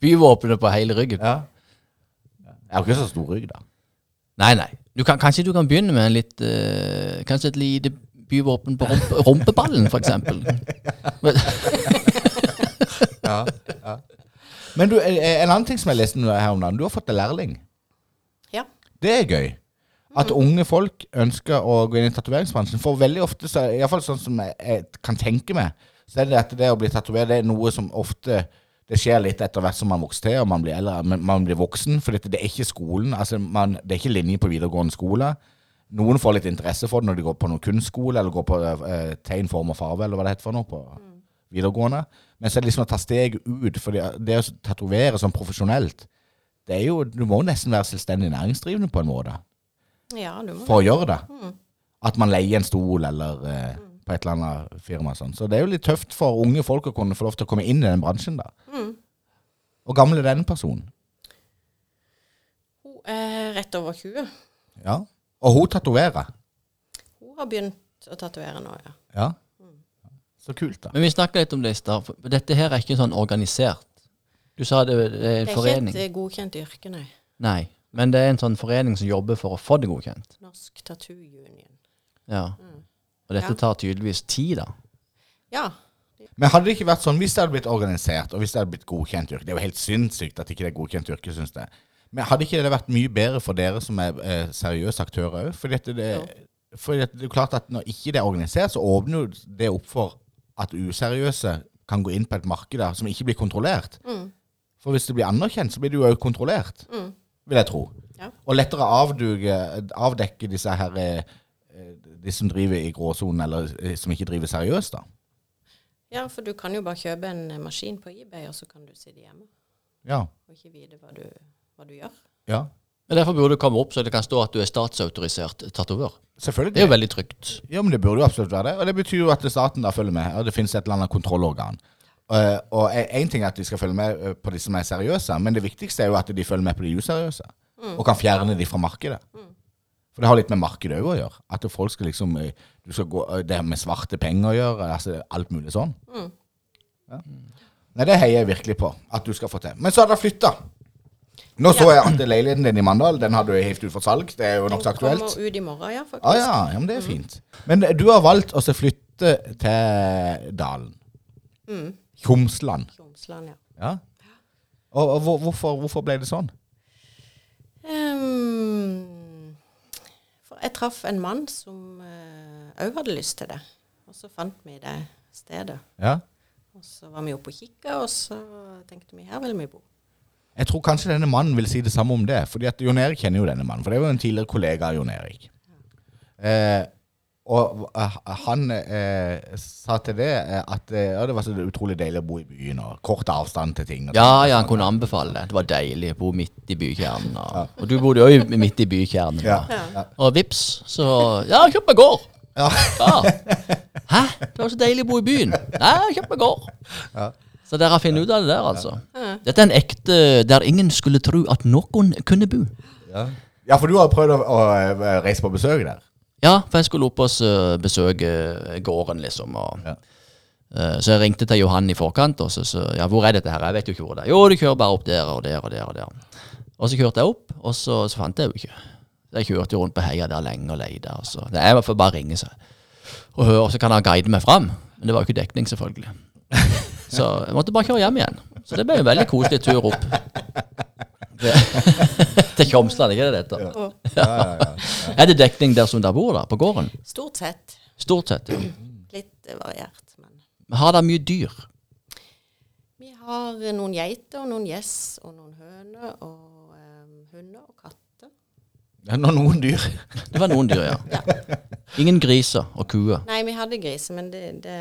B: Byvåpenet på hele ryggen.
C: Ja. Jeg har ikke så stor rygg, da.
B: Nei, nei. Du kan, kanskje du kan begynne med en litt eh, Kanskje et lite byvåpen på rumpe, rumpeballen, for eksempel. Men,
C: Men du, eh, eh, en annen ting som jeg leste nå her om dagen. Du har fått deg lærling.
E: Ja.
C: Det er gøy. At unge folk ønsker å gå inn i tatoveringsbransjen. For veldig ofte, så, i hvert fall sånn som jeg, jeg kan tenke meg, så er det at det å bli tatovert det er noe som ofte det skjer litt etter hvert som man vokser til, og man blir, eller, men man blir voksen. For dette, det er ikke skolen. Altså, man, det er ikke linje på videregående skole. Noen får litt interesse for det når de går på noen kunstskole, eller går på eh, tegn, form og farve, eller hva det heter for noe på videregående. Men så er det liksom å ta steget ut. For det, det å tatovere sånn profesjonelt, det er jo, du må jo nesten være selvstendig næringsdrivende på en måte
E: Ja, du må
C: for å gjøre det. At man leier en stol eller eh, på et eller annet firma. og Sånn. Så det er jo litt tøft for unge folk å kunne få lov til å komme inn i den bransjen. da. Og gammel er denne personen.
E: Hun er rett over 20.
C: Ja. Og hun tatoverer.
E: Hun har begynt å tatovere nå, ja.
C: Ja. Så kult, da.
B: men vi snakka litt om det i stad. for Dette her er ikke sånn organisert. Du sa det, det er
E: Det
B: en
E: er ikke
B: forening.
E: et eh, godkjent yrke, nei.
B: Nei. Men det er en sånn forening som jobber for å få det godkjent.
E: Norsk Tattoo Union.
B: Ja. Og
E: Mm. Ja.
B: dette tar tydeligvis tid, da.
E: Ja.
C: Men hadde det ikke vært sånn hvis det hadde blitt organisert, og hvis det hadde blitt godkjent yrke Det er jo helt sinnssykt at ikke det er godkjent yrke, syns jeg. Men hadde ikke det vært mye bedre for dere som er eh, seriøse aktører òg? Fordi at det, fordi at det er jo klart at når ikke det er organisert, så åpner jo det opp for at useriøse kan gå inn på et marked der som ikke blir kontrollert. For hvis det blir anerkjent, så blir det jo òg kontrollert, vil jeg tro.
E: Ja.
C: Og lettere avduge, avdekke disse her eh, eh, De som driver i gråsonen, eller eh, som ikke driver seriøst, da.
E: ja, for du kan jo bare kjøpe en eh, maskin på eBay, og så kan du sitte hjemme
C: Ja.
E: og ikke vite hva du, hva du gjør.
C: Ja,
B: Men Derfor burde du komme opp så det kan stå at du er statsautorisert tatovør.
C: selvfølgelig.
B: Det er jo veldig trygt.
C: Ja, men det burde jo absolutt være det. Og det betyr jo at staten da følger med, og det finnes et eller annet kontrollorgan. Eh, og én ting er at de skal følge med eh, på de som er seriøse, men det viktigste er jo at de følger med på de useriøse,
E: Mm.
C: og kan fjerne de fra markedet. For det har litt med markedet òg å gjøre. At folk skal liksom eh, du skal gå, eh, Det har med svarte penger å gjøre, altså alt mulig sånn.
E: Mm.
C: Ja. Nei, det heier jeg virkelig på at du skal få til. Men så har dere flytta. Nå så jeg at leiligheten din i Mandal Den har du hivd ut for salg. Det er jo nokså aktuelt.
E: Den kommer ut i morgen, ja, faktisk.
C: Ah, ja, ja, men det er fint. Men eh, du har valgt å så flytte til Dalen. Tjomsland.
E: Tromsland, ja.
C: Ja. Og, og hvor- hvorfor, hvorfor ble det sånn?
E: Ehm, for jeg traff en mann som òg hadde lyst til det. Og så fant vi det stedet.
C: Ja.
E: Og så var vi oppe og kikka, og så tenkte vi her vil vi bo.
C: Jeg tror kanskje denne mannen vil si det samme om det. Fordi at Jon Erik kjenner jo denne mannen, for det var jo en tidligere kollega av Jon Erik. Eh, og eh, han eh, sa til det eh, at eh, ja, det var så utrolig deilig å bo i byen, og kort avstand til ting. Og
B: Ja, ja, han kunne anbefale det. Det var deilig å bo midt i bykjernen. Og, og du bodde jo i- midt i bykjernen.
C: Ja,
B: da. Og vips, så Ja, kjøp meg gård! Ja. Hæ? Det var så deilig å bo i byen. Nei, kjøp meg gård. Så dere har funnet ut av det der, altså. Dette er en ekte der ingen skulle tro at noen kunne bo.
C: ja, for du har prøvd å, å eh, reise på besøk der.
B: Ja, for jeg skulle opp og så besøke eh, gården, liksom. Og,
C: Ja.
B: eh, så jeg ringte til Johan i forkant, og så, så ja, hvor er dette her? Jeg vet jo ikke hvor det er. Jo, du kjører bare opp der og der og der. Og der. Og så kjørte jeg opp, og så, så fant jeg jo ikke. Så Jeg kjørte jo rundt på heia der lenge og leide. Og så. Nei, jeg må få bare ringe seg og høre, og så kan han guide meg fram. Men det var jo ikke dekning, selvfølgelig. Så jeg måtte bare kjøre hjem igjen. Så det ble en veldig koselig tur opp. Det- Til Tjomsland, ikke det dette? Er det dekning der som dere bor, da? På gården?
E: Stort sett.
B: Stort sett. ja.
E: Litt eh, variert, men
B: Har dere mye dyr?
E: Vi har eh, noen geiter, og noen gjess, og noen høner, og eh, hunder og katter.
C: Ja, nå noen dyr.
B: Det var noen dyr, ja. Ingen griser og kuer.
E: Nei, vi hadde griser, men det, det,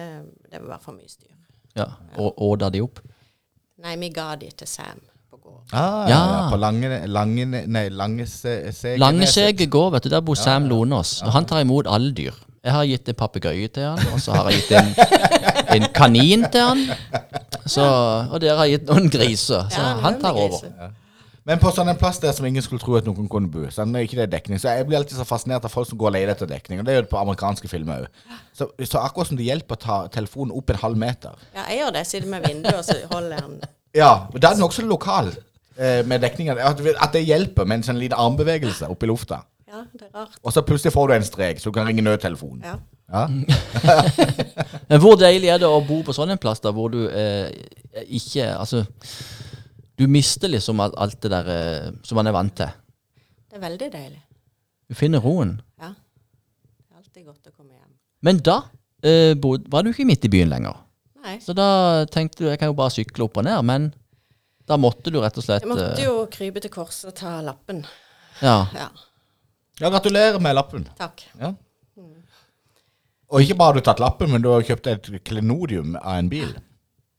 E: det var for mye styr.
B: Ja. Og åda de opp?
E: Nei, vi ga de til Sam på gården.
C: Ah, ja.
B: Ja.
C: på lange, lange, nei, lange se, se,
B: Langeseg gård, vet du. Der bor Sam Lonås. Og han tar imot alle dyr. Jeg har gitt en papegøye til han, og så har jeg gitt en, en kanin til han. Så, og dere har gitt noen griser, så
E: Ja, det er
B: Altså, han tar
E: veldig
B: over.
E: gøy, så.
C: Men på sånn en plass der som ingen skulle tro at noen kunne bo. Sånn, det er ikke det dekning. Så jeg blir alltid så fascinert av folk som går og leter etter dekning. Og det gjør det på amerikanske filmer òg. Så, så akkurat som det hjelper å ta telefonen opp en halv meter.
E: Ja, jeg gjør det. Jeg sitter med vinduet, og så holder jeg den
C: Ja, og da er den også lokal eh, med dekningen. At, at det hjelper med en sånn liten armbevegelse opp i lufta.
E: Ja, det er rart.
C: Og så plutselig får du en strek, så du kan ringe nødtelefonen.
E: Ja.
B: Men hvor deilig er det å bo på sånn en plass, da, hvor du eh, ikke Altså, du mister liksom alt, alt det der eh, som man er vant til.
E: Det er veldig deilig.
B: Du finner roen.
E: Ja. Det er alltid godt å komme hjem.
B: Men da eh, bod, var du ikke midt i byen lenger.
E: Nei.
B: Så da tenkte du jeg kan jo bare sykle opp og ned, men da måtte du rett og slett
E: Jeg måtte
B: eh,
E: jo krype til korset og ta lappen.
B: Ja.
E: Ja,
C: Ja, gratulerer med lappen.
E: takk.
C: Ja. Og ikke bare har du tatt lappen, men du har kjøpt et klenodium av en bil.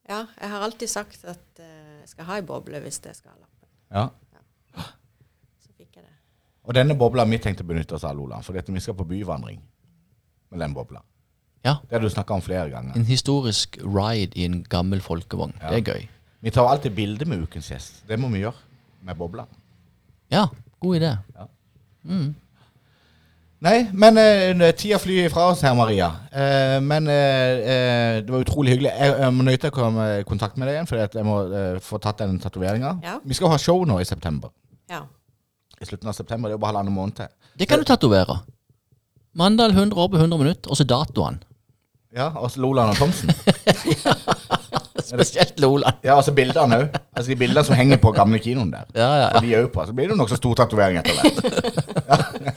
E: Ja, jeg har alltid sagt at eh, jeg skal ha ei boble hvis jeg skal ha lappen.
C: Ja.
E: Så fikk jeg det.
C: Og denne bobla vi tenkte å benytte oss av, Lola, fordi at vi skal på byvandring med den bobla.
B: ja.
C: Det har du snakka om flere ganger.
B: En historisk ride i en gammel folkevogn. Det er gøy.
C: Vi tar alltid bilde med ukens gjest. Det må vi gjøre med bobla.
B: Ja, god idé.
C: Nei, men eh, tida flyr ifra oss her, Maria. Eh, men eh, eh, det var utrolig hyggelig. Jeg, jeg må nøye til å komme i kontakt med deg igjen, for jeg må eh, få tatt den tatoveringa.
E: Ja.
C: Vi skal ha show nå i september.
E: Ja.
C: I slutten av september. Det er jo bare halvannen måned til.
B: Det kan du tatovere. Mandal 100 år på 100 minutter, og så datoen.
C: Ja, Og så Lolan og Thomsen.
B: Spesielt Loland.
C: Ja, og så bildene òg. Altså de bildene som henger på gamle kinoen der.
B: Ja, ja,
C: Og de er jo på. Så blir det jo nokså stor tatovering etter hvert. Ja.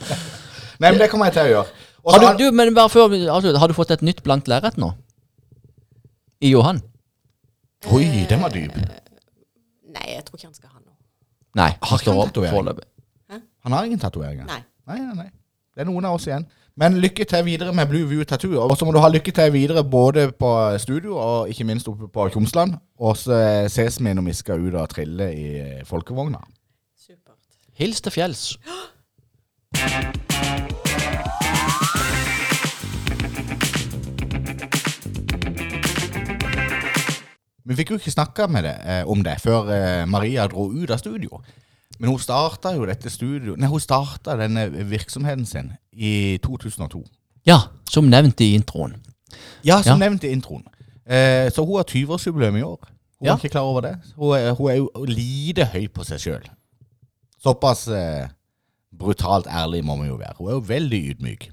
C: Nei, men det kommer jeg til å gjøre. Og så
B: Har du,
C: har-
B: du, men bare før vi avslutter, har du fått et nytt blankt lerret nå? I Johan?
C: Oi, den var dyp.
E: Nei, jeg tror ikke han skal ha noe.
B: Nei.
C: Har ikke
B: står
C: han
B: opp
C: tatovering?
B: foreløpig.
C: Han har ingen tatoveringer.
E: Nei.
C: Nei, nei, nei. Det er noen av oss igjen. Men lykke til videre med Blue View Tattoo. Og så må du ha lykke til videre både på studio og ikke minst oppe på Tjomsland. Og så eh, ses vi når vi skal ut og trille i eh, folkevogna.
E: Supert.
B: Hils til fjells.
C: Vi fikk jo ikke snakka med det, eh, om det før eh, Maria dro ut av studio. Men hun starta jo dette studio Nei, hun starta denne virksomheten sin i 2002.
B: Ja, som nevnt i introen.
C: Ja, som
B: Ja.
C: nevnt i introen. Eh, så hun har 20-årsjubileum i år. Hun
B: Ja.
C: er ikke klar over det. Hun er, hun er jo lite høy på seg sjøl. Såpass eh, brutalt ærlig må man jo være. Hun er jo veldig ydmyk.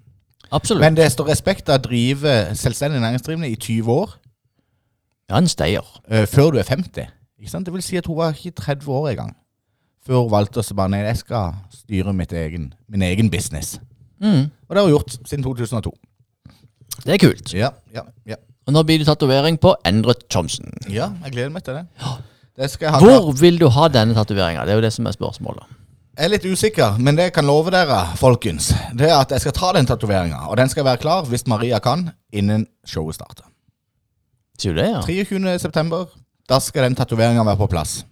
B: Absolutt.
C: Men det står respekt av å drive selvstendig næringsdrivende i 20 år
B: Ja, en steier.
C: eh, før du er 50. Ikke sant? Det vil si at hun var ikke 30 år engang før hun valgte å si bare nei, jeg skal styre mitt egen, min egen business.
B: Mm,
C: Og det har hun gjort siden 2002.
B: det er kult.
C: Ja, ja, ja.
B: Og nå blir det tatovering på Endret Thomsen.
C: ja jeg gleder meg til det. Det skal jeg ha
B: Hvor vil du ha denne tatoveringa? Det er jo det som er spørsmålet.
C: Jeg er litt usikker, men det jeg kan love dere, folkens, det er at jeg skal ta den tatoveringa. Og den skal være klar, hvis Maria kan, innen showet starter.
B: Sier du det, ja?
C: 23. september, da skal den tatoveringa være på plass.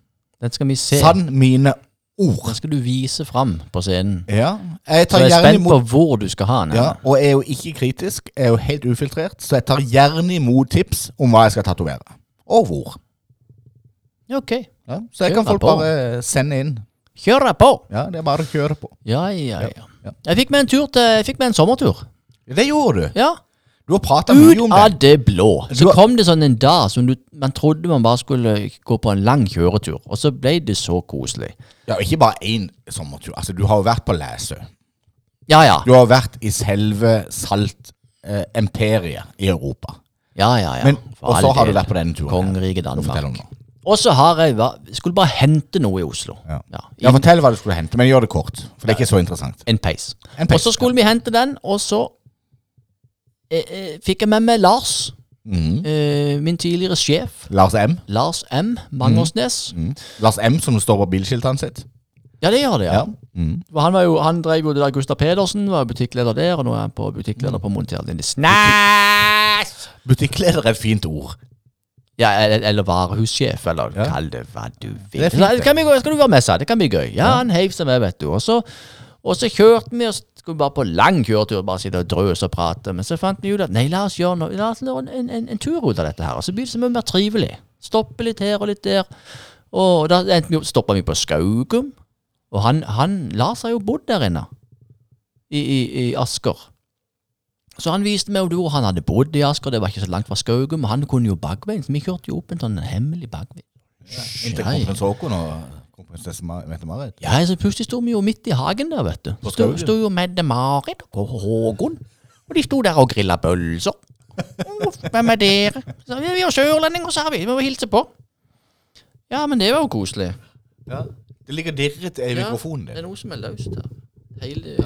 B: Den skal vi se.
C: Sann mine ord.
B: Den skal du vise fram på scenen.
C: Ja. Jeg
B: Så
C: tar
B: jeg
C: gjerne
B: er spent på
C: imot
B: hvor du skal ha den.
C: ja,
B: henne.
C: Og jeg er jo ikke kritisk, jeg er jo helt ufiltrert, så jeg tar gjerne imot tips om hva jeg skal tatovere. Og hvor.
B: Ja, Ok.
C: Ja, så jeg kan
B: Kjør
C: folk
B: deg på.
C: bare sende inn.
B: Kjør deg på!
C: Ja, Det er bare å kjøre på.
B: Ja, ja, ja.
C: ja.
B: Jeg fikk meg en tur til Jeg fikk meg en sommertur.
C: Det gjorde du.
B: Ja.
C: Du har prata mye
B: Ut
C: om
B: av
C: det.
B: det blå. Så
C: Du har-
B: kom det sånn en dag som du, man trodde man bare skulle gå på en lang kjøretur, og så ble det så koselig.
C: Ja, og ikke bare én sommertur. Altså, du har jo vært på Læsø.
B: Ja, ja.
C: Du har vært i selve saltimperiet i Europa.
B: Ja, ja, ja.
C: Men-
B: For
C: og
B: all
C: så har du
B: del.
C: vært på denne turen her.
B: Kongeriket
C: Og Fortell om
B: Danmark.
C: det.
B: Og så har jeg va- Skulle bare hente noe i Oslo.
C: Ja.
B: I
C: Ja, fortell hva du skulle hente, men gjør det kort. For det er ikke så interessant.
B: En peis.
C: En peis,
B: Og så skulle vi hente den, og så eh, eh, fikk jeg med meg Lars.
C: Mhm.
B: Eh, min tidligere sjef,
C: Lars M.
B: Lars M. Mangersnes.
C: Mhm. Lars M, som står på bilskiltene sitt.
B: Ja, det gjør det, ja.
C: Ja. Mm.
B: For Han, var jo, han drev jo det der Gustav Pedersen, var butikkleder der, og nå er han på
C: Mhm.
B: butikkleder på Monter Lindesnes.
C: Butikkleder er et fint ord.
B: Ja, eller, eller varehussjef, eller
C: Ja.
B: kall det hva du vil.
C: Det er fint,
B: Så, det kan vi, gå- skal du være med, sa jeg. Det kan bli gøy. Ja, han heiv seg med, vet du. Og så, Og så kjørte vi og skulle bare på lang kjøretur, bare sitte og drøse og prate. Men så fant vi ut at nei, la oss gjøre noe, la oss gjøre en, en, en tur ut av dette her. Og så blir det så mye mer trivelig. Stoppe litt her og litt der. Og da endte vi opp, stoppa vi på Skaugum. Og han, han Lars har jo bodd der inne, i, i, i Asker. Så han viste meg hvor han hadde bodd i Asker, det var ikke så langt fra Skaugum. Og han kunne jo bakveien, så vi kjørte jo opp en sånn hemmelig bakvei.
C: Inntil
B: Hei.
C: kronprins Haakon og kronprinsesse Ma- Mette-Marit.
B: Ja, så plutselig sto vi jo midt i hagen der, vet du.
C: På
B: Sto,
C: skogen.
B: sto jo Mette-Marit og Håkon. Og de sto der og grilla pølser. Uff, Hvem er dere? Så, vi vi er sørlendinger, sa vi. Vi må hilse på. Ja, men det var jo koselig.
C: Ja. Det ligger dirret i mikrofonen
B: Det er
C: din.
B: noe som er løst her. Hele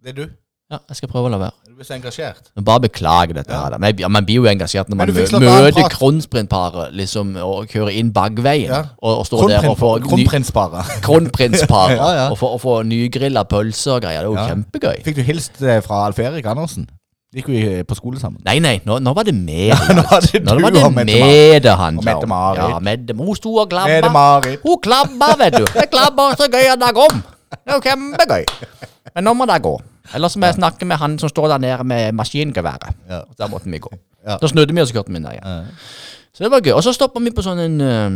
C: Det er du.
B: Ja, jeg skal prøve å la være.
C: Du blir så engasjert.
B: Men Bare beklager dette her. da. Men jeg blir- Man blir jo engasjert når man
C: Men du fikk
B: mø-
C: slått av en
B: møter
C: prat.
B: kronprintparet liksom, og kjører inn bakveien.
C: Ja.
B: Og, og står der og får
C: Kronprins-
B: ny-
C: Kronprinsparet.
B: kronprinsparet.
C: Ja, ja.
B: Og får- og får nygrilla pølser og greier. Det er jo
C: Ja.
B: kjempegøy.
C: Fikk du hilst eh, fra Alf Erik Andersen? Gikk vi eh, på skole sammen?
B: Nei, nei, nå, nå var det med.
C: Nå var det
B: Nå
C: du
B: var det
C: og Mette Marit.
B: med det han
C: Og Mette-Marit.
B: Ja, Mette, hun sto og klabba.
C: Mette-Marit.
B: Hun klabba, vet du. Jeg klabba så gøy at det kom. Det er jo kjempegøy. Men nå må det gå. Ellers må jeg snakke med han som står der nede med maskingeværet.
C: Ja.
B: Da måtte vi gå.
C: Ja.
B: Da snudde vi og så kjørte vi ned igjen.
C: Ja.
B: Så det var gøy. Og så stoppa vi på sånn en eh,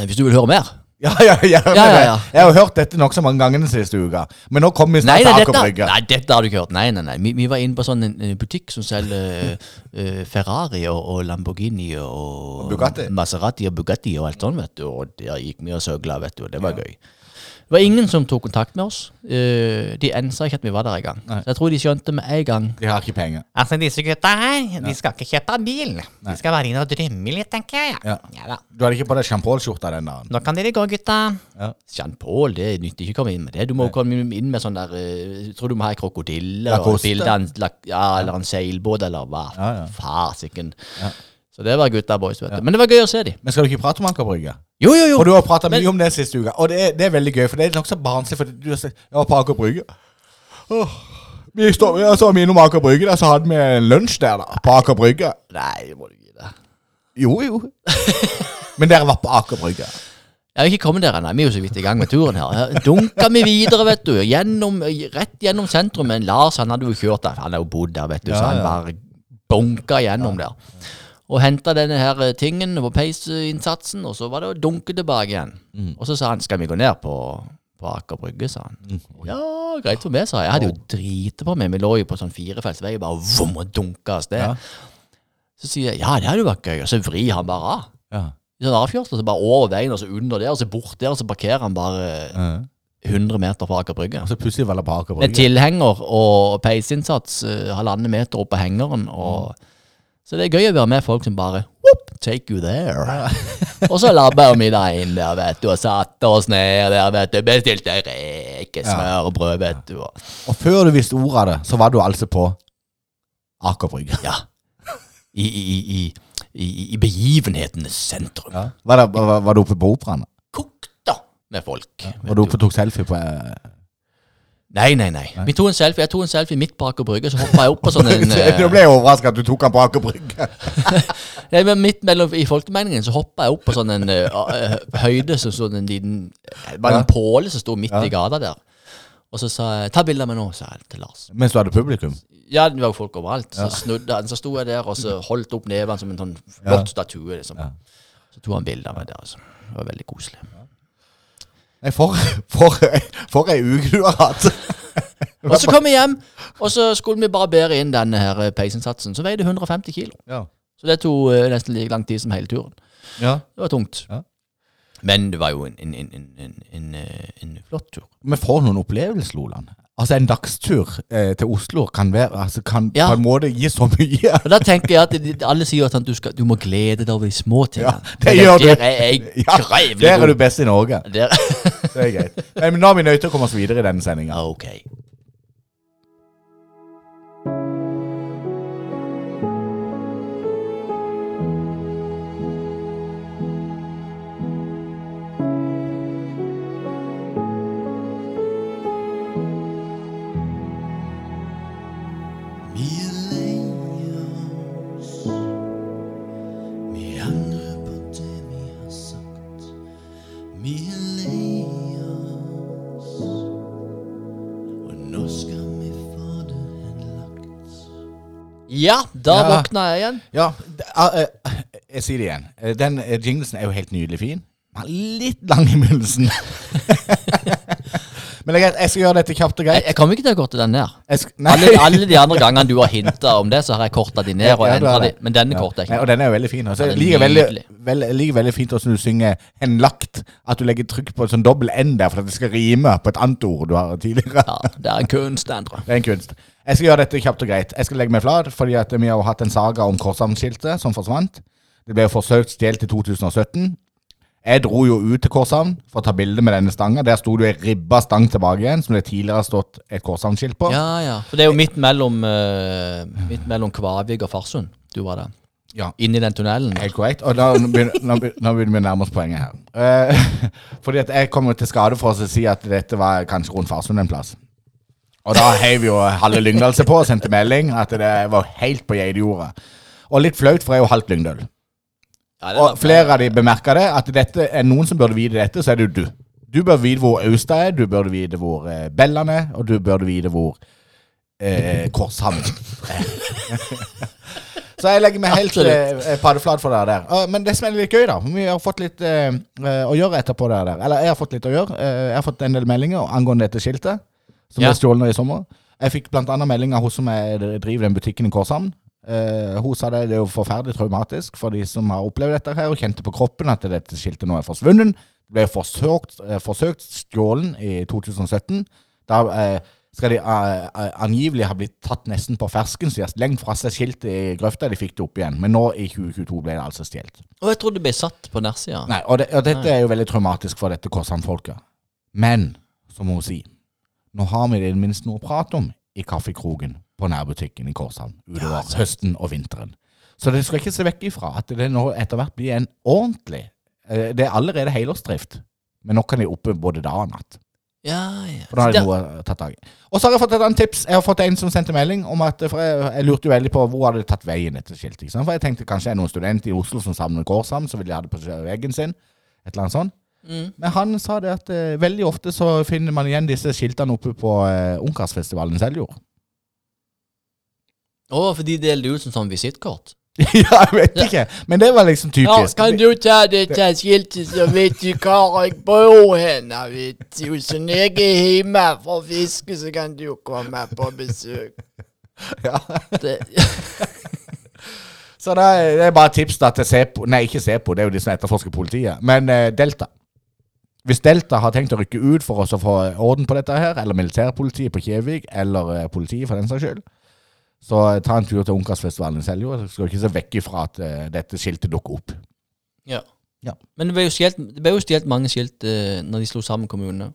B: eh, Hvis du vil høre mer?
C: Ja, ja, ja,
B: Ja, ja, ja.
C: Jeg har jo hørt dette nokså mange ganger den siste uka. Men nå kommer vi
B: Nei,
C: snart
B: nei,
C: til Aker
B: dette,
C: Brygge.
B: nei, dette har du ikke hørt. Nei, nei, nei. Vi, vi var inne på sånn en eh, butikk som selger eh, Ferrari og, og Lamborghini og,
C: Og Bugatti.
B: Maserati og Bugatti og alt sånt, vet du. Og der gikk vi og søgla, vet du. Og det var gøy. Det var ingen som tok kontakt med oss. Eh, de ensa ikke at vi var der engang.
C: Nei.
B: Jeg tror de skjønte med en gang
C: De har ikke penger.
F: Altså, disse gutta her, de skal ikke kjøpe bil. De skal være inne og drømme litt, tenker jeg.
C: Ja.
F: Ja da.
C: Du hadde ikke på deg sjampolskjorta den dagen.
F: Nå kan dere gå, gutta.
B: Jean Paul, det nytter ikke å komme inn med det. Du må komme inn med sånn der eh, Jeg tror du må ha en krokodille og
C: Lacoste.
B: et bilde av en lak- ja, eller en seilbåt eller hva.
C: Ja, ja.
B: Fasiken. Så det var gutta boys, vet du. Men det var gøy å se de.
C: Men skal du ikke prate om Aker Brygge?
B: Jo, jo, jo.
C: For du har prata
B: Men-
C: mye om det siste uka, og det er, det er veldig gøy. For det er nokså barnslig. For du har sagt Jeg var på Aker Brygge. Åh. Vi står, vi- så var vi innom Aker Brygge, der, så hadde vi en lunsj der, da. På Aker Brygge.
B: Nei, det må du gi deg.
C: Jo, jo. Men dere var på Aker Brygge.
B: Jeg har ikke kommet der ennå. Vi er jo så vidt i gang med turen her. Her Dunka vi videre, vet du. Gjennom, rett gjennom sentrum. Men Lars han hadde jo kjørt der. Han har jo bodd der, vet du.
C: Ja,
B: så han
C: ja.
B: bare bunka gjennom der. Og henta denne her eh, tingen på peisinnsatsen, og så var det å dunke tilbake igjen.
C: Mm.
B: Og så sa han 'skal vi gå ned på, på Aker Brygge', sa han.
C: Mm.
B: Ja, greit for meg, sa jeg. Jeg hadde jo driti på meg. Vi lå jo på sånn firefelts vei bare vom, og dunka av sted.
C: Ja.
B: Så sier jeg 'ja, det hadde jo vært gøy', og så vrir han bare av. I sånn avkjørsel, så bare over veien, og så under der, og så bort der, og så parkerer han bare
C: Ja.
B: 100 meter fra Aker Brygge.
C: Og så plutselig var det på Aker
B: Med
C: Brygge.
B: tilhenger og peisinnsats, eh, halvannen meter opp på hengeren, og Så det er gøy å være med folk som bare Whoop, take you there. og så labba vi da inn der, vet du, og satte oss ned der, vet du. Bestilte reke, smørbrød, vet du. Og,
C: Og før du visste ordet av det, så var du altså på Aker Brygge.
B: ja. I, i, i, i, i, i begivenhetenes sentrum.
C: Var, det, var, var du oppe på operaen?
B: Kokta med folk.
C: Var du oppe og tok selfie på eh,
B: Nei, nei, nei. Vi tok en selfie, Jeg tok en selfie midt på Aker Brygge, så hoppa jeg opp på sånn en eh,
C: Du ble overraska at du tok han på Aker Brygge.
B: Nei, men Midt mellom i folkemeningen så hoppa jeg opp på sånn en eh, eh, høyde som stod en liten eh, Bare en påle som sto midt i gata der. Og så sa jeg 'ta bilde av meg nå', sa jeg til Lars.
C: Mens du hadde publikum.
B: Ja, det var jo folk overalt. Så snudde han, så sto jeg der og så holdt opp neven som en sånn flott statue. liksom. Så tok han bilde av meg der. altså. Det var veldig koselig.
C: Nei, for, for, for ei uke du har hatt!
B: Og så kom vi hjem, og så skulle vi bare bære inn denne her eh, peisinnsatsen. Så veide 150 kilo.
C: Ja.
B: Så det tok eh, nesten like lang tid som hele turen.
C: Ja.
B: Det var tungt.
C: Ja.
B: Men det var jo en, en, en, en, en, en, eh, en flott tur.
C: Men for noen opplevelser, Loland. Altså, en dagstur eh, til Oslo kan, være, altså, kan
B: Ja.
C: på en måte gi så mye.
B: Og da tenker jeg at de- de- alle sier at sånn, du, skal, du må glede deg over de små tingene.
C: det gjør du.
B: Der er jeg
C: Ja,
B: grevlig
C: der er du
B: god.
C: best i Norge.
B: Der,
C: Det er greit. Nei, men nå er vi nødt til å komme oss videre i denne sendinga.
B: ja, ok.
A: Vi er lei oss, Nå skal vi få det henlagt.
B: Ja, da
C: Ja.
B: våkna jeg igjen.
C: Ja, d- eh, eh, jeg sier det igjen. Eh, Den eh, jinglesen er jo helt nydelig fin. Men litt lang i begynnelsen. Men det er greit, jeg skal gjøre dette kjapt og
B: Jeg,
C: greit.
B: jeg kom ikke til å korte den ned.
C: Jeg sk- nei.
B: Alle, alle de andre gangene du har hinta om det, så har jeg korta de ned og
C: Ja, du har
B: endra de.
C: det.
B: Men denne
C: Ja.
B: korta jeg
C: Nei,
B: ikke.
C: Og den er jo veldig fin. Også.
B: Ja,
C: Jeg
B: den er
C: liker veldig,
B: nydelig.
C: vel, jeg liker veldig fint hvordan du synger 'henlagt'. At du legger trykk på en sånn dobbel N der for at det skal rime på et annet ord du har tidligere.
B: Ja, det er en kunst, Endre.
C: Det er en kunst. Jeg skal gjøre dette kjapt og greit. Jeg skal legge meg flat, fordi at vi har jo hatt en saga om Korshavn-skiltet som forsvant. Det ble jo forsøkt stjålet i 2017. Jeg dro jo ut til Korshavn for å ta bilde med denne stanga. Der sto det ei ribba stang tilbake igjen, som det tidligere har stått et Korshavn-skilt på.
B: Ja, ja. For det er jo midt mellom, eh, midt mellom Kvavik og Farsund. Du var der.
C: Ja.
B: Inni den tunnelen.
C: Helt korrekt. Og da begynner, nå begynner- nå begynner vi å nærme oss poenget her. Eh, fordi at jeg kom jo til skade for å si at dette var kanskje rundt Farsund en plass. Og da heiv jo halve Lyngdal seg på og sendte melding at det var helt på geitejordet. Og litt flaut, for jeg er jo halvt Lyngdal.
B: Ja, det
C: Og
B: var,
C: flere av de bemerka det, at dette er noen som burde vite dette, så er det jo du. Du bør vite hvor Austa er, du bør vite hvor eh, Bellan er, og du bør vite hvor eh, Korshamn er. så jeg legger meg helt eh, paddeflat for deg der. Ah, men det som er litt gøy, da Vi har fått litt eh, eh, å gjøre etterpå det der. Eller jeg har fått litt å gjøre. Eh, jeg har fått en del meldinger angående dette skiltet, som
B: Ja.
C: ble stjålet i sommer. Jeg fikk blant annet melding av hun som er, driver den butikken i Korshamn. Eh, hun sa det, det er jo forferdelig traumatisk for de som har opplevd dette her, og kjente på kroppen at dette skiltet nå er forsvunnet. Det ble forsøkt, eh, forsøkt stjålet i 2017. Da eh, skal de eh, eh, angivelig ha blitt tatt nesten på fersken, så de har slengt fra seg skiltet i grøfta. De fikk det opp igjen. Men nå i 2022 ble det altså stjålet.
B: og jeg trodde det ble satt på nedsida.
C: Nei, og, det, og dette er jo veldig traumatisk for dette Korshamn-folket. Men, som hun sier, nå har vi det i det minste noe å prate om i kaffekroken på nærbutikken i Korshamn utover høsten og vinteren. Så det skal ikke se vekk ifra at det nå etter hvert blir en ordentlig eh, Det er allerede helårsdrift, men nå kan de oppe både dag og natt.
B: Ja, ja.
C: For da har
B: Det-
C: jeg noe å ta tak i. Og så har jeg fått et annet tips. Jeg har fått en som sendte melding om at For jeg, jeg lurte jo veldig på hvor hadde det tatt veien dette skiltet. ikke sant? For jeg tenkte kanskje er det noen student i Oslo som savner Gårdsham, så vil de ha det på veggen sin. Et eller annet sånt. Men han sa det at eh, veldig ofte så finner man igjen disse skiltene oppe på eh, Ungkarsfestivalen i Seljord.
B: Å, for de delte ut som sånn visittkort?
C: ja, jeg vet ikke. Men det var liksom typisk.
B: du ta dette skiltet, så vet du hvor jeg bor hen. Vet du, så når jeg er hjemme for å fiske, så kan du komme på besøk. Det,
C: Så det er, det er bare tips da til Sepo Nei, ikke Sepo, det er jo de som etterforsker politiet. Men eh, Delta. Hvis Delta har tenkt å rykke ut for oss å få orden på dette her, eller militærpolitiet på Kjevik, eller eh, politiet for den saks skyld, så eh, ta en tur til Ungkarsfestivalen i Seljord. Så Skal du ikke se vekk ifra at eh, dette skiltet dukker opp.
B: ja.
C: Ja.
B: Men det ble jo stjålet det ble jo stjålet mange skilt eh, når de slo sammen kommunene.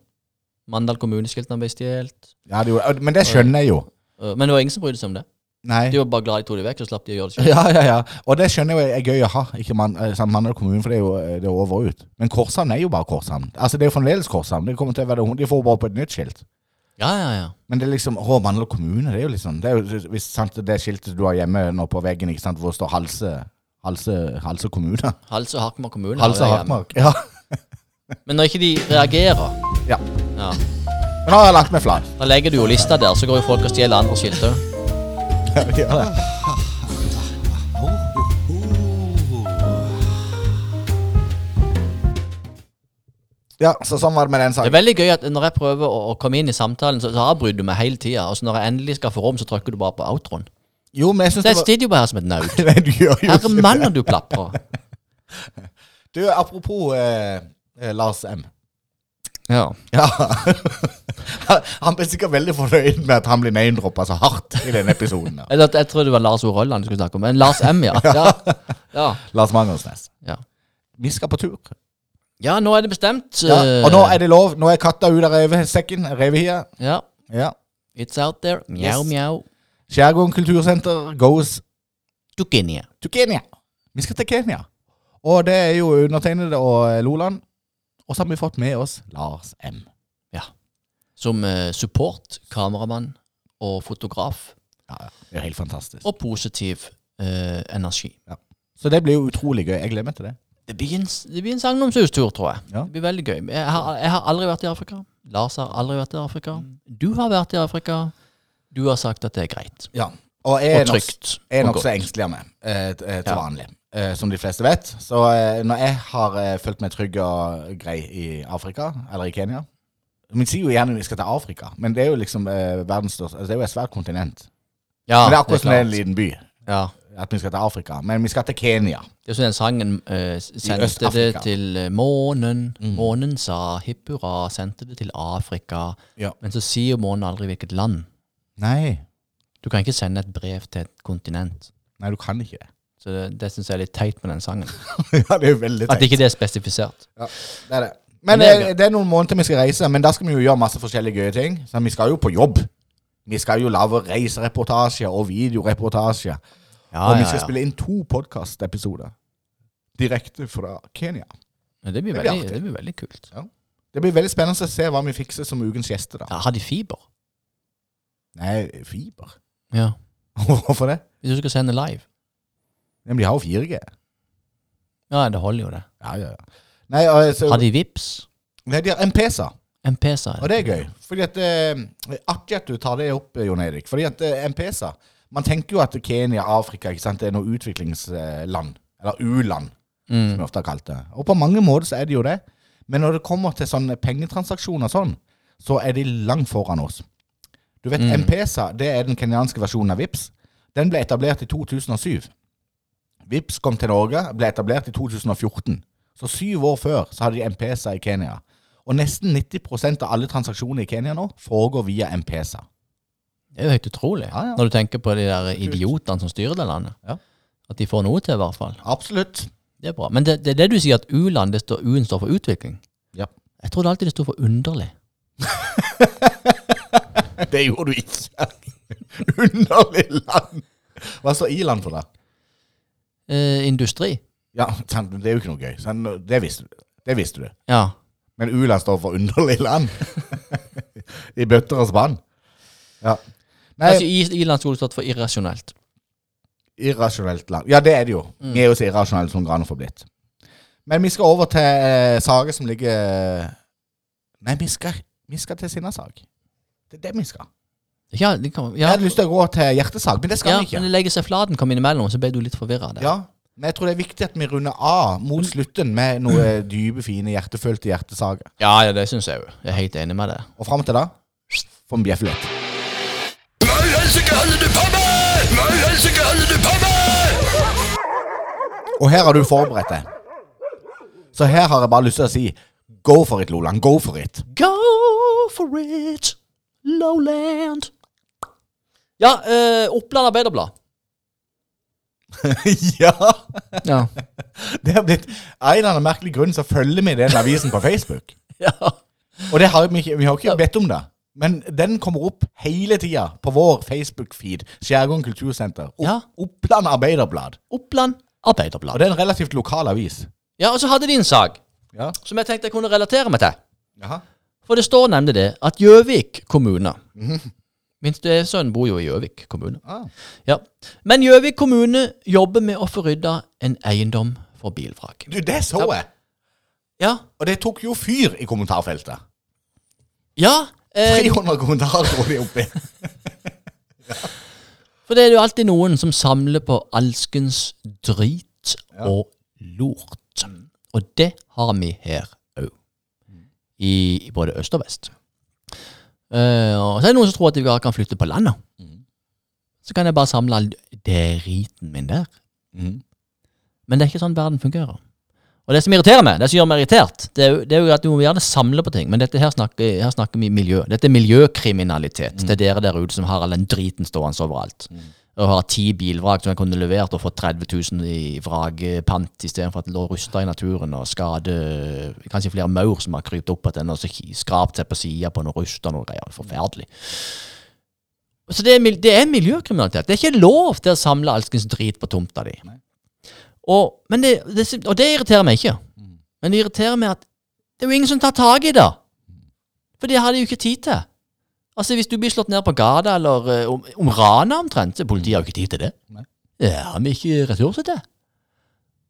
B: Mandal kommuneskiltene ble stjålet.
C: Ja, det, gjorde- men det skjønner jeg jo.
B: Eh, Men det var ingen som brydde seg om det.
C: Nei.
B: De var bare glad de tok det vekk, så slapp de å gjøre det sjøl.
C: Ja, ja, ja. Og det skjønner jeg jo er gøy å ha. Ikke man, eh, sant, Mandal kommune, for det er jo eh, det er over og ut. Men Korshamn er jo bare Korshamn. Altså, det er jo fremdeles Korshamn. Det kommer til å være det, de får bare på et nytt skilt.
B: Ja, ja, ja.
C: Men det er liksom Å, Mandal kommune, det er jo liksom det er jo, hvis, sant, Det skiltet du har hjemme nå på veggen, ikke sant, hvor det står Halse Halse, Halse kommune.
B: Halse og Harkmark kommune. har
C: Halse
B: jeg
C: Hartmark. Ja.
B: hjemme. Men når ikke de reagerer,
C: ja.
B: ja,
C: Men nå har jeg lagt meg flat.
B: da legger du jo lista der, så går jo folk og stjeler andre skilt òg.
C: Ja, det. ja, så sånn var det med den
B: Det er
C: saken.
B: veldig gøy at når jeg prøver å, å komme inn i samtalen, så, så avbryter du meg hele tida. Og så når jeg endelig skal få rom, så trykker du bare på outroen.
C: Jo, men jeg syns
B: Så
C: det
B: jeg
C: var
B: sitter jo bare her som et naut.
C: Nei, du gjør jo
B: Herre
C: ikke det.
B: mannen, du plaprer.
C: Du, apropos eh, eh, Lars M.
B: Ja.
C: Ja. Han ble sikkert veldig fornøyd med at han blir name-droppa så hardt i denne episoden. her.
B: Eller, at jeg trodde det var Lars O. Rølland du skulle snakke om, men Lars M, ja. Ja, ja.
C: Lars Magnusnes.
B: ja.
C: Vi skal på tur.
B: ja nå er det bestemt.
C: Ja, og nå er det lov. Nå er katta ute av revesekken. Revehia.
B: ja.
C: Ja.
B: It's out there. Mjau,
C: Yes.
B: mjau.
C: Skjærgården kultursenter goes
B: Dukinie.
C: to Kenya. Vi skal til Kenya. Og det er jo undertegnede og eh, Loland. Og så har vi fått med oss Lars M.
B: Som eh, support, kameramann og fotograf.
C: Ja, ja. det er jo helt fantastisk.
B: Og positiv eh, energi.
C: Så det blir jo utrolig gøy. Jeg gleder meg til det.
B: Det blir en, det blir en sagnomsustur, tror jeg.
C: Ja.
B: Det blir veldig gøy. Jeg har, jeg har aldri vært i Afrika. Lars har aldri vært i Afrika.
C: Mm.
B: Du har vært i Afrika. Du har sagt at det er greit.
C: Ja. Og jeg er
B: Og
C: nok-
B: trygt
C: jeg er
B: og
C: nokså
B: godt.
C: engstelig av meg eh, t- eh, til
B: Ja.
C: vanlig, eh, som de fleste vet. Så eh, når jeg har eh, følt meg trygg og grei i Afrika, eller i Kenya Vi sier jo gjerne vi skal til Afrika, men det er jo liksom eh, verdens største altså, Det er jo et svært kontinent.
B: Ja,
C: men det er akkurat som det er en
B: Ah, klart.
C: liten by.
B: Ja.
C: At vi skal til Afrika. Men vi skal til Kenya.
B: Det er sånn den sangen eh, sendte det
C: Øst-Afrika. Mm.
B: til eh, månen. Månen sa hipp hurra, sendte det til Afrika.
C: Ja.
B: Men så sier månen aldri hvilket land.
C: Nei.
B: Du kan ikke sende et brev til et kontinent.
C: Nei, du kan ikke det.
B: Så det, det syns jeg er litt teit med den sangen.
C: ja, det er jo veldig
B: At
C: teit.
B: ikke det er spesifisert.
C: Ja, det er det. Men
B: Men det er
C: eh,
B: gøy.
C: det er noen måneder vi skal reise, men da skal vi jo gjøre masse forskjellige gøye ting. Så vi skal jo på jobb. Vi skal jo lage reisereportasjer og videoreportasjer.
B: Ja,
C: og vi
B: Ah, ja,
C: skal
B: ja.
C: spille inn to podkastepisoder direkte fra Kenya. Det
B: Det blir
C: blir
B: veldig,
C: artig.
B: det blir veldig kult.
C: Det blir veldig spennende å se hva vi fikser som ukens gjester, da.
B: Ja, har de fiber?
C: Nei, fiber.
B: Ja.
C: Hvorfor det?
B: Hvis du skal sende live.
C: Nei, Men de har jo 4G.
B: Ja, det holder jo det.
C: Ja, ja, ja. Nei, og, så,
B: Har de VIPs?
C: nei, de har MPSA.
B: MPSA?
C: Og det er gøy. Fordi at eh, Artig at du tar det opp, Jon Erik. Fordi at eh, MPSA Man tenker jo at Kenya, Afrika, ikke sant, det er noe utviklingsland. Eller u-land, som vi ofte har kalt det. Og på mange måter så er det jo det. Men når det kommer til sånne pengetransaksjoner og sånn, så er de langt foran oss. Du vet, MPSA det er den kenyanske versjonen av VIPS. Den ble etablert i 2007. VIPS kom til Norge, ble etablert i 2014. Så syv år før så hadde de MPSA i Kenya. Og nesten 90 av alle transaksjoner i Kenya nå foregår via MPSA.
B: Det er jo helt utrolig.
C: Ja, ja.
B: Når du tenker på de der idiotene som styrer det landet.
C: Ja.
B: At de får noe til, i hvert fall.
C: Absolutt.
B: Det er bra. Men det, det er det du sier, at U-land, det står, U-en står for utvikling.
C: Ja.
B: Jeg trodde alltid det sto for underlig.
C: Det gjorde du ikke. Underlig land. Hva står i-land for, da?
B: Eh, industri.
C: Ja, sant, Det er jo ikke noe gøy. Sant, Det visste du. Det visste du.
B: Ja.
C: Men u-land står for underlig land. I bøtter og spann. Ja. Nei,
B: Altså, i- I-land skulle det stått for irrasjonelt.
C: irrasjonelt land. Ja, det er det jo.
B: Mm.
C: Vi er jo så irrasjonelle som granen får blitt. Men vi skal over til eh, saker som ligger Nei, vi skal, vi skal til Sinnasag. Det er det vi skal.
B: Ja, det kan,
C: Jeg
B: ja,
C: hadde lyst til å gå til hjertesak, men det skal
B: ja
C: vi ikke.
B: men det legger seg flaten kom innimellom, så ble du litt forvirra der.
C: Ja, men jeg tror det er viktig at vi runder av mot slutten med noe
B: Mm.
C: dype, fine, hjertefølte hjertesaker.
B: ja, ja, det syns jeg jo. Jeg er helt enig med det.
C: Og fram til da får vi bjeffe litt. Og her har du forberedt deg. Så her har jeg bare lyst til å si go for it, Lolan. Go for it.
B: Go for it, lowland. Ja, eh, Oppland Arbeiderblad.
C: ja!
B: Ja.
C: Det har blitt Av en eller annen merkelig grunn så følger vi den avisen på Facebook.
B: ja.
C: Og det har vi, ikke, vi har jo ikke bedt om det. Men den kommer opp hele tida på vår Facebook-feed. Skjærgården kultursenter. Opp,
B: Ja.
C: Oppland Arbeiderblad.
B: Oppland
C: Og
B: Arbeiderblad.
C: det er en relativt lokal avis.
B: Ja, og så hadde de en sak
C: Ja.
B: som jeg tenkte jeg kunne relatere meg til.
C: Jaha.
B: For det står nemlig det at Gjøvik kommune Min sønn bor jo i Gjøvik kommune.
C: Ah.
B: Ja. Men Gjøvik kommune jobber med å få rydda en eiendom for bilvrak.
C: Du, det så
B: Ja.
C: jeg.
B: Ja,
C: Og det tok jo fyr i kommentarfeltet.
B: ja eh,
C: 300 kommentarer dro de oppi.
B: for det er jo alltid noen som samler på alskens drit og lort. Og det har vi her òg. I, I både øst og vest. Eh, og så er det noen som tror at vi bare kan flytte på landet. Så kan jeg bare samle all driten min der. Men det er ikke sånn verden fungerer. Og det som irriterer meg, det som gjør meg irritert, det er jo, det er jo at du må gjerne samle på ting, men dette her snakker, her snakker vi miljø. Dette er miljøkriminalitet til dere der ute som har all den driten stående overalt. Og har ti bilvrak som jeg kunne levert og fått 30 000 i vrakpant istedenfor at det lå rusta i naturen og skade kanskje flere maur som har krypt opp igjen og så ki- skrapt seg på sida på noe rust og noe greier. Forferdelig. Så det er, mil- det er miljøkriminalitet. Det er ikke lov til å samle alskens drit på tomta di. Og, men det, det, og det irriterer meg ikke. Men det irriterer meg at det er jo ingen som tar tak i det. For det har de jo ikke tid til. Altså Hvis du blir slått ned på gata eller eh, om, om rana omtrent, så politiet har jo ikke tid til det.
C: Nei.
B: Det har vi ikke ressurser til.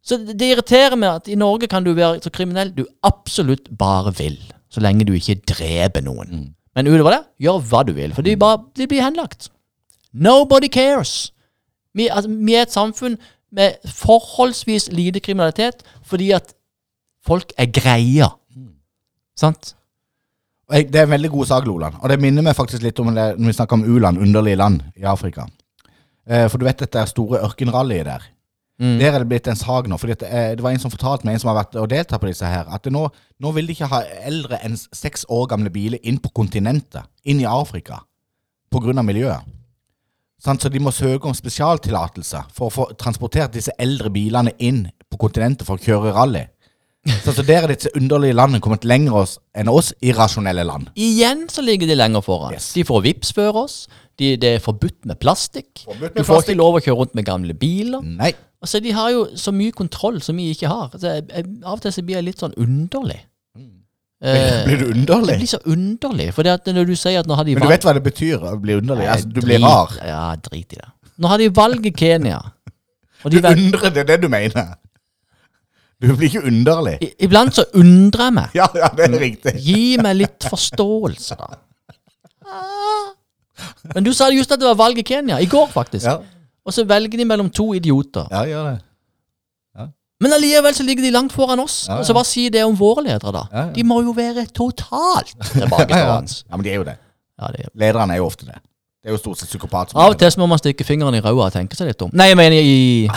B: Så det det irriterer meg at i Norge kan du være så kriminell du absolutt bare vil. Så lenge du ikke dreper noen. Men utover det, gjør hva du vil, for de, bare, de blir henlagt. Nobody cares. Vi, altså, vi er et samfunn med forholdsvis lite kriminalitet fordi at folk er greia.
C: Mm.
B: Sant?
C: Og jeg- Det er en veldig god sak, Loland. Og det minner meg faktisk litt om det når vi snakker om u-land, underlige land i Afrika. Eh, for du vet dette store ørkenrallyet der. Der er det blitt en sak nå. Fordi at, eh, det var en som fortalte meg, en som har vært og deltatt på disse her, at det nå, nå vil de ikke ha eldre enn seks år gamle biler inn på kontinentet, inn i Afrika, på grunn av miljøet. Sant? Så de må søke om spesialtillatelse for å få transportert disse eldre bilene inn på kontinentet for å kjøre rally. Så, så der er disse underlige landene kommet lenger oss- enn oss irrasjonelle land.
B: Igjen så ligger de lenger foran.
C: Yes.
B: De får vips før oss. De, det er forbudt med plastikk.
C: Forbudt med
B: du får
C: plastikk. Mm.
B: ikke lov å kjøre rundt med gamle biler.
C: Nei.
B: Altså, De har jo så mye kontroll som vi ikke har. Altså, jeg, jeg, av og til så blir jeg litt sånn underlig. Eh,
C: Blir du
B: jeg
C: underlig?
B: blir så underlig. For når du sier at nå har de
C: Men du vet hva det betyr å bli underlig? Altså, du blir
B: Drit-
C: rar.
B: Ja, drit i det. Nå har de valg i Kenya. Og
C: Du
B: de vel,
C: undrer, det er det du mener. Du blir ikke underlig.
B: i, iblant så undrer jeg meg.
C: Ja, ja, det er riktig.
B: Gi meg litt forståelse, da. Ah. Men du sa just at det var valg i Kenya. I går, faktisk.
C: Ja,
B: Og så velger de mellom to idioter.
C: ja gjør det.
B: Men allikevel så ligger de langt foran oss.
C: Ja, ja.
B: Og så hva sier det om våre ledere, da?
C: Ja, ja.
B: De må jo være totalt tilbakestående.
C: Ja, men de er jo det.
B: Ja, det er-
C: Lederne er jo ofte det. Det er jo stort sett psykopat som
B: Av
C: er
B: og til så må man stikke fingeren i ræva og tenke seg litt om. Nei, jeg mener i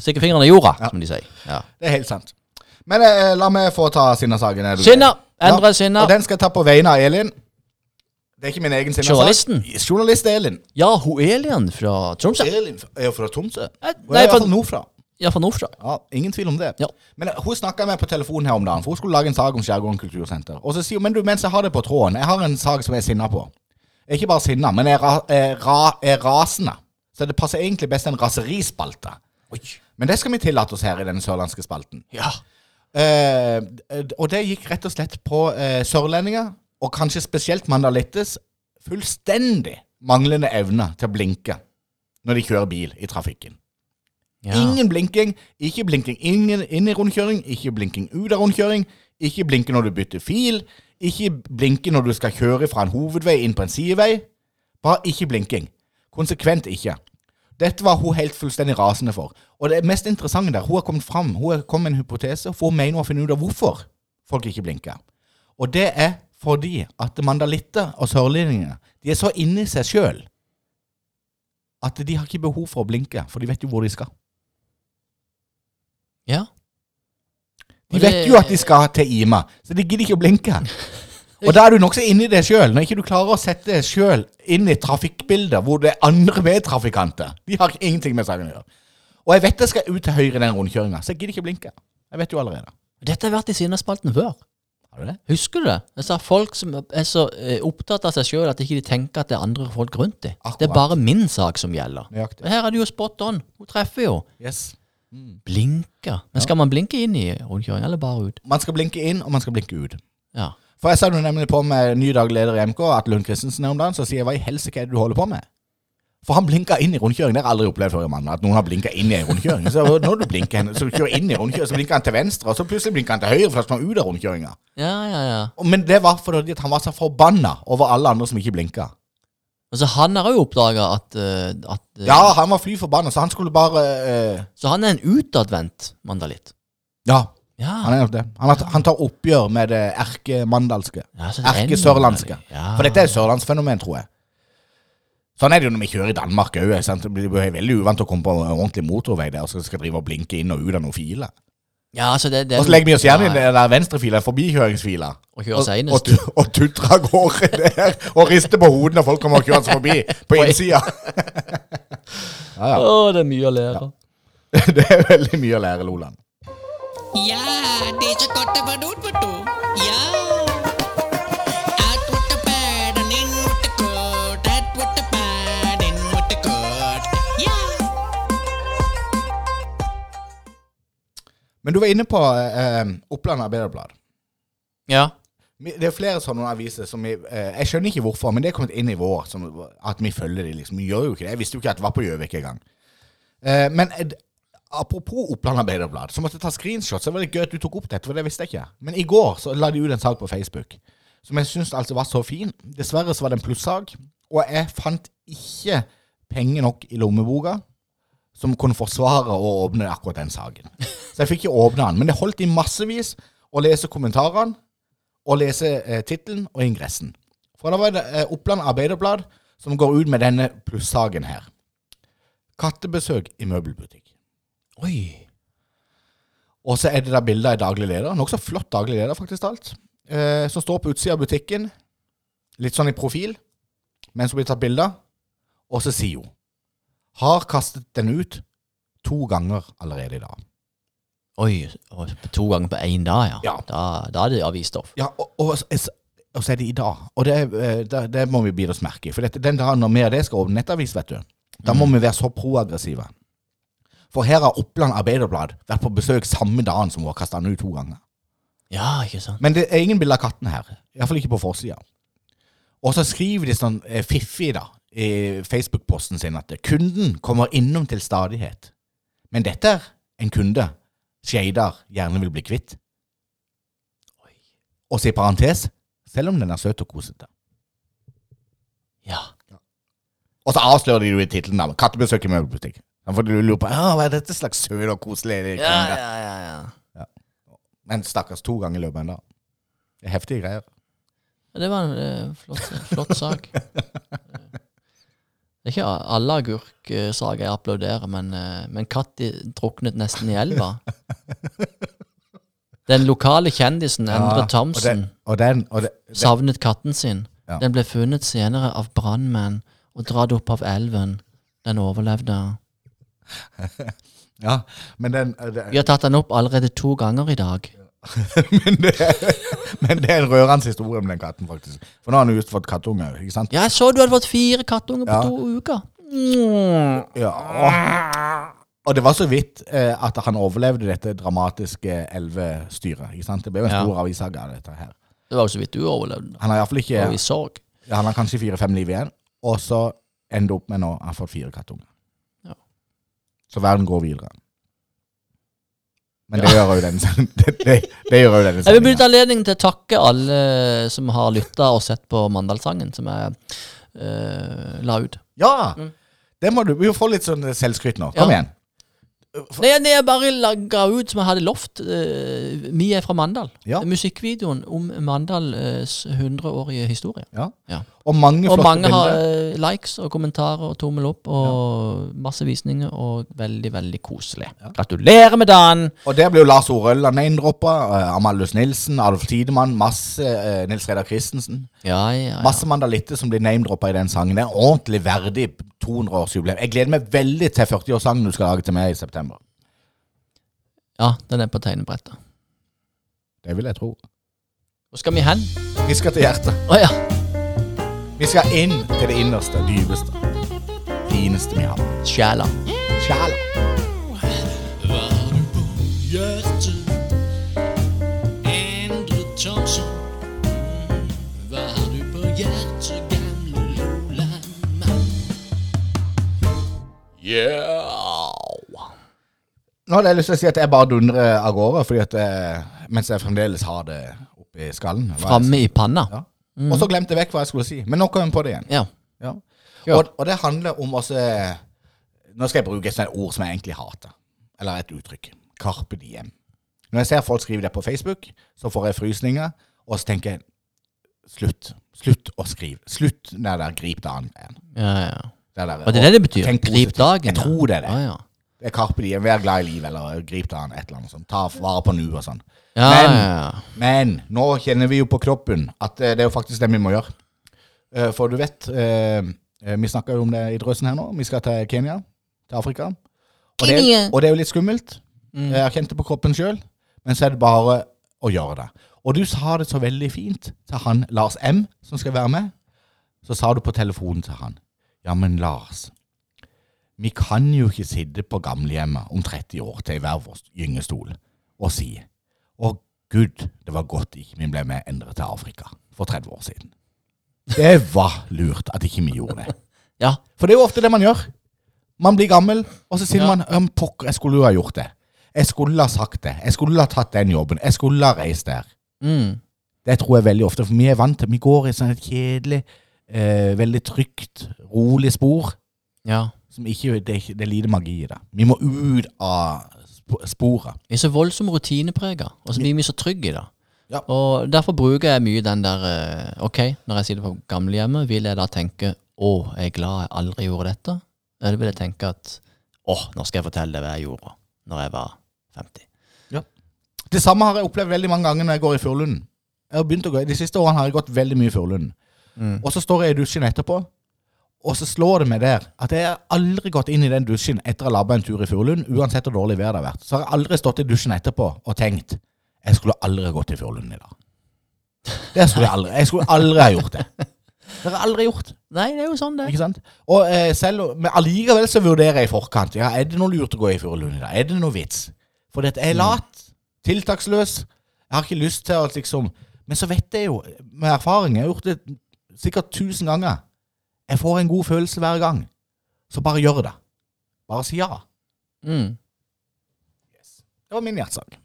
B: Stikke fingeren i jorda, som de sier. Ja.
C: det. Det er helt sant. Men eh, la meg få ta Sinna-saken. er du-
B: Sinna!
C: Ja,
B: Endre Sinna.
C: Og den skal jeg ta på vegne av Elin. Det er ikke min egen Sinna-sak.
B: Journalisten.
C: Journalist Elin.
B: Ja, hun Elian fra Tromsø.
C: Elin f- er jo fra Tromsø. Hun
B: nei,
C: er i hvert
B: fra-
C: fall nordfra.
B: Ja, fra Nordfra.
C: Ja, ingen tvil om det.
B: Ja.
C: Men eh, hun snakka med på telefonen her om dagen, for hun skulle lage en sak om Skjærgården kultursenter. Og så sier hun men du, mens jeg har det på tråden, jeg har en sak som jeg er sinna på. Jeg er Ikke bare sinna, men jeg er, ra er, ra er rasende. Så det passer egentlig best en raserispalte. Men det skal vi tillate oss her i denne sørlandske spalten.
B: Ja.
C: Eh, d- og det gikk rett og slett på eh, sørlendinger, og kanskje spesielt mandalittes, fullstendig manglende evne til å blinke når de kjører bil i trafikken. Ingen blinking, ikke blinking ingen inn i rundkjøring, ikke blinking ut av rundkjøring, ikke blinke når du bytter fil, ikke blinke når du skal kjøre fra en hovedvei inn på en sidevei. Bare ikke blinking. Konsekvent ikke. Dette var hun helt fullstendig rasende for. Og det mest interessante der, hun har kommet fram, hun har kommet med en hypotese, for hun mener hun har funnet ut av hvorfor folk ikke blinker. Og det er fordi at mandalitter og sørlendinger, de er så inne i seg sjøl at de har ikke behov for å blinke, for de vet jo hvor de skal.
B: Ja.
C: De vet jo at de skal til Ima, så de gidder ikke å blinke. Og da er du nokså inni det sjøl, når ikke du klarer å sette deg sjøl inn i trafikkbilder hvor det er andre medtrafikanter. De har ingenting med saken å gjøre. Og jeg vet jeg skal ut til høyre i den rundkjøringa, så jeg gidder ikke å blinke. Jeg vet jo allerede.
B: Dette har vært i Sinnaspalten før.
C: Har du det?
B: Husker du det? Jeg sa folk som er så eh, opptatt av seg sjøl at ikke de tenker at det er andre folk rundt dem.
C: Akkurat.
B: Det er bare min sak som gjelder.
C: Nøyaktig.
B: Men Her er det jo spot on. Hun treffer jo.
C: Yes.
B: Blinker. Men skal man blinke inn i rundkjøring, eller bare ut?
C: Man skal blinke inn, og man skal blinke ut.
B: Ja.
C: For jeg sa du nemlig på med ny daglig leder i MK, Atle Lund Christensen, her om dagen, så sier jeg hva i helsike er det du holder på med? For han blinka inn i rundkjøring. Det har jeg aldri opplevd før i mannen. At noen har blinka inn i en rundkjøring. Så når du blinker henne, så kjører inn i rundkjøring, så blinker han til venstre, og så plutselig blinker han til høyre for da skal han ut av rundkjøringa.
B: Ja, ja, ja.
C: Og- Men det var fordi at han var så forbanna over alle andre som ikke blinka.
B: Altså, han har jo oppdaga at, eh, at eh,
C: Ja, han var fly forbanna, så han skulle bare eh,
B: Så han er en utadvendt mandalitt.
C: Ja, han
B: Ja.
C: er jo det. Han, har- han tar oppgjør med det erkemandalske.
B: Ja, så det er en
C: Erkesørlandske.
B: mandalitt. Ja.
C: For dette er et sørlandsfenomen, tror jeg. Sånn er det jo når vi kjører i Danmark òg. Det blir jo veldig uvant å komme på en ordentlig motorvei der og så skal drive og blinke inn og ut av noen filer.
B: ja, altså, det, det er
C: Og så legger vi oss gjerne i den der venstrefila, forbikjøringsfila.
B: Og kjører
C: og,
B: senest.
C: tu- og tutrer av gårde der og rister på hodet når folk kommer og kjører forbi på innsida.
B: Å, det er mye å lære.
C: Det er veldig mye å lære, Loland.
D: Ja, det er så godt å være ute, vet du. Ja. Out with the bad and in with the good. Out with the bad, in with the good. Ja.
C: Men du var inne på eh, Oppland Arbeiderblad.
B: Ja.
C: Vi- Det er flere sånne aviser som vi eh, Jeg skjønner ikke hvorfor, men det er kommet inn i vår som, at vi følger de liksom. Vi gjør jo ikke det. Jeg visste jo ikke at det var på Gjøvik engang. Eh, men eh, Apropos Oppland Arbeiderblad, så måtte jeg ta screenshot. Så det var litt gøy at du tok opp dette, for det visste jeg ikke. Men i går så la de ut en sak på Facebook som jeg syns altså var så fin. Dessverre så var det en plussak, og jeg fant ikke penger nok i lommeboka som kunne forsvare å åpne akkurat den saken. Så jeg fikk ikke åpna den. Men det holdt i massevis å lese kommentarene, og lese eh, tittelen og ingressen. For da var det eh, Oppland Arbeiderblad som går ut med denne plussaken her. Kattebesøk i møbelbutikk.
B: Oi.
C: Og så er det da bilder av daglig leder, nokså flott daglig leder faktisk alt, eh, som står på utsida av butikken, litt sånn i profil, mens hun blir tatt bilder, og så sier hun Har kastet den ut to ganger allerede i dag.
B: Oi, og to ganger på én dag, ja.
C: Ja.
B: Da, da er det avisstoff.
C: Ja, og, og, s- og så er det i dag. Og det, er, eh, det, det må vi bite oss merke i. For dette, den dagen når vi og det skal åpne nettavis, vet du, da må vi være så proaggressive. For her har Oppland Arbeiderblad vært på besøk samme dagen som hun har kasta den ut to ganger.
B: Ja, ikke sant.
C: Men det er ingen bilder av katten her. Iallfall ikke på forsida. Og så skriver de sånn eh, fiffig da, i Facebook-posten sin at kunden kommer innom til stadighet. Men dette er en kunde Skeidar gjerne vil bli kvitt. Og så i parentes selv om den er søt og kosete.
B: Ja.
C: Og så avslører de jo i tittelen da, kattebesøk i møbelbutikk. Da får du lure på «Ja, hva er dette slags søt og koselig kunde.
B: Ja, ja, ja, ja.
C: Men stakkars to ganger i løpet av en dag. Det er heftige greier.
B: Ja, Det var en eh, flott, flott sak. Det er ikke alle agurksaker jeg applauderer, men, eh, men katt i- druknet nesten i elva. Den lokale kjendisen Endre Thomsen
C: Og den, og den, og den,
B: savnet katten sin.
C: Ja.
B: Den ble funnet senere av brannmenn og dratt opp av elven. Den overlevde.
C: ja, men den, eh, den
B: Vi har tatt den opp allerede to ganger i dag.
C: men, det er, men det er en rørende historie om den katten, faktisk. For nå har han jo just fått kattunge. ikke sant?
B: Ja, jeg så du hadde fått fire kattunger på
C: Ja.
B: to uker. Mm.
C: Ja. Og det var så vidt eh, at han overlevde dette dramatiske elvestyret. ikke sant? Det ble jo en
B: Ja.
C: stor avissak av dette her.
B: Det var jo så vidt du overlevde.
C: Han har i hvert fall ikke,
B: Og i sorg.
C: han har kanskje fire-fem liv igjen, og så ender det opp med nå at han har fått fire kattunger.
B: Ja.
C: Så verden går videre. Men det gjør jo denne sendingen. Det, det, det gjør jo denne
B: Jeg vil
C: sendingen.
B: benytte anledningen til å takke alle som har lytta og sett på Mandalsangen, som jeg eh, la ut.
C: Ja! Det må du, vi får litt sånn selvskryt nå. Kom
B: Mm. Ja.
C: igjen.
B: Nei, det jeg bare laga ut som jeg hadde lovt. eh, vi er fra Mandal.
C: Ja.
B: Musikkvideoen om Mandals 100-årige historie.
C: Ja.
B: Ja.
C: Og mange
B: Og
C: flotte
B: mange har
C: bilder.
B: eh, likes og kommentarer og tommel opp og masse visninger og veldig, veldig koselig. Gratulerer med dagen!
C: Og der blir jo Lars Orølla neindroppa. Uh, Amalius Nilsen, Adolf Tidemann, masse eh, Nils Reidar Christensen.
B: Ja, ja, ja.
C: Masse mandalitter som blir namedroppa i den sangen. Det er ordentlig verdig 200-årsjubileum. Jeg gleder meg veldig til 40-årssangen du skal lage til meg i september.
B: ja den er på tegnebrettet.
C: Det vil jeg tro.
B: Hvor skal vi hen?
C: Vi skal til hjertet.
B: Å ja.
C: Vi skal inn til det innerste, dypeste, fineste vi har.
B: Sjela.
C: Sjæla.
D: Hjertet Endre Thomsen Hva har du på hjertet, gamle Lola-mann?
C: Nå hadde jeg lyst til å si at jeg bare dundrer av gårde, fordi at eh, mens jeg fremdeles har det oppi skallen. Hva jeg
B: Framme i panna.
C: Ja. Og så glemte jeg vekk hva jeg skulle si. Men nå kom jeg på det igjen.
B: Ja.
C: Ja. Og, og det handler om oss eh, Nå skal jeg bruke et sånt ord som jeg egentlig hater. Eller et uttrykk. Carpe diem. Når jeg ser folk skrive det på Facebook, så får jeg frysninger, og så tenker jeg Slutt. Slutt å skrive. Slutt den der grip dagen.
B: Ja, ja.
C: Det der,
B: Og det er det det betyr?
C: tenk
B: Grip
C: positivt.
B: dagen?
C: Jeg tror det er det.
B: Ja, ja.
C: Det er carpe diem. Vær glad i livet, eller grip dagen. Et eller annet sånt. Ta vare på nuet og sånn.
B: Ja,
C: Men-
B: ja, ja.
C: Men nå kjenner vi jo på kroppen at eh, det er jo faktisk det vi må gjøre. Eh, For du vet, eh, eh, vi snakker jo om det i drøsen her nå. Vi skal til Kenya, til Afrika. Og det,
B: Kenya.
C: og det er jo litt skummelt.
B: Mm.
C: Jeg har kjent det på kroppen sjøl, men så er det bare å gjøre det. Og du sa det så veldig fint til han Lars M, som skal være med. Så sa du på telefonen til han Ja, men Lars, vi kan jo ikke sitte på gamlehjemmet om 30 år til i hver vår gyngestol og si Å gud, det var godt ikke vi ble med Endre til Afrika for 30 år siden. Det var lurt at ikke vi gjorde det.
B: ja.
C: For det er jo ofte det man gjør. Man blir gammel, og så sier
B: Ja.
C: man «Øhm, pokker, jeg skulle jo ha gjort det. Jeg skulle ha sagt det. Jeg skulle ha tatt den jobben. Jeg skulle ha reist der.
B: Mm.
C: Det tror jeg veldig ofte, for vi er vant til Vi går i sånn et kjedelig, eh, veldig trygt, rolig spor.
B: Ja.
C: Som ikke, det, er ikke- det er lite magi i det. Vi må ut av sp- sporet.
B: Vi er så voldsomt rutineprega, og så blir vi så trygge i det.
C: Ja.
B: Og derfor bruker jeg mye den der eh, Ok, når jeg sitter på gamlehjemmet, vil jeg da tenke Å, jeg er glad jeg aldri gjorde dette? Eller vil jeg tenke at Å, nå skal jeg fortelle deg hva jeg gjorde når jeg var 50.
C: Det samme har jeg opplevd veldig mange ganger når jeg går i Furlunden. Jeg har begynt å gå, De siste årene har jeg gått veldig mye i Furlunden. Og så står jeg i dusjen etterpå, og så slår det meg der at jeg har aldri gått inn i den dusjen etter å ha labba en tur i Furlunden, uansett hvor dårlig vær det har vært. Så har jeg aldri stått i dusjen etterpå og tenkt jeg skulle aldri ha gått i Furlunden i dag. Det skulle jeg aldri. Jeg skulle aldri ha gjort det. Det har jeg aldri gjort.
B: Nei, det er jo sånn, det.
C: Ikke sant? Og eh, selv, om- men allikevel så vurderer jeg i forkant. Ja, Er det noe lurt å gå i Furulund i dag? Er det noe vits? For dette er lat, tiltaksløs. Jeg har ikke lyst til å liksom Men så vet jeg jo, med erfaring, jeg har gjort det sikkert tusen ganger. Jeg får en god følelse hver gang. Så bare gjør det. Bare si ja.
B: Mm.
C: Det var min hjertesak.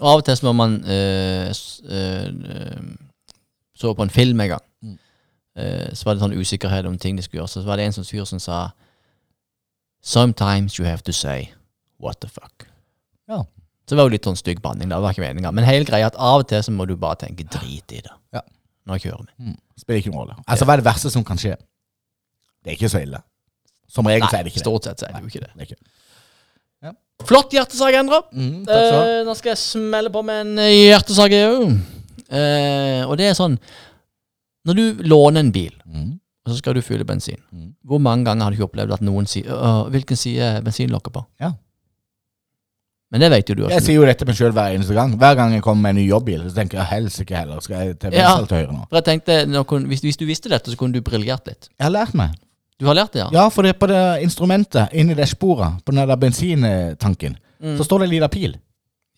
B: Og av og til så må man eh, s- eh, eh, så på en film en gang. Eh, så var det sånn usikkerhet om ting de skulle gjøre. Så var det en sånn fyr som sa Sometimes you have to say what the fuck.
C: Ja.
B: Så det var jo litt sånn stygg banning. da, Det var ikke meningen. Men hele greia er at av og til så må du bare tenke drit i det.
C: Ja.
B: Nå kjører vi.
C: Spiller ikke noen rolle. Altså, hva er det verste som kan skje? Det er ikke så ille. Som regel så er det ikke det.
B: stort sett så er det jo ikke det.
C: det er ikke.
B: Flott hjertesak, Endre.
C: Mm, takk skal du ha.
B: Eh, nå skal jeg smelle på med en eh, hjertesak, jeg òg. Eh, og det er sånn Når du låner en bil
C: Mm.
B: og så skal du fylle bensin.
C: Mm.
B: Hvor mange ganger har du ikke opplevd at noen sier «Åh, 'Hvilken side er bensinlokket på?'
C: Ja.
B: Men det vet jo du
C: Jeg
B: også.
C: sier jo dette meg sjøl hver eneste gang. Hver gang jeg kommer med en ny jobbbil, så tenker jeg helsike heller, skal jeg til venstre
B: Ja.
C: eller til høyre nå?
B: For jeg tenkte, nå kunne, hvis, hvis du visste dette, så kunne du briljert litt.
C: Jeg har lært meg.
B: Du har lært det, ja?
C: Ja, for det er på det instrumentet inni det sporet, på den der bensintanken,
B: Mm.
C: så står det en liten pil.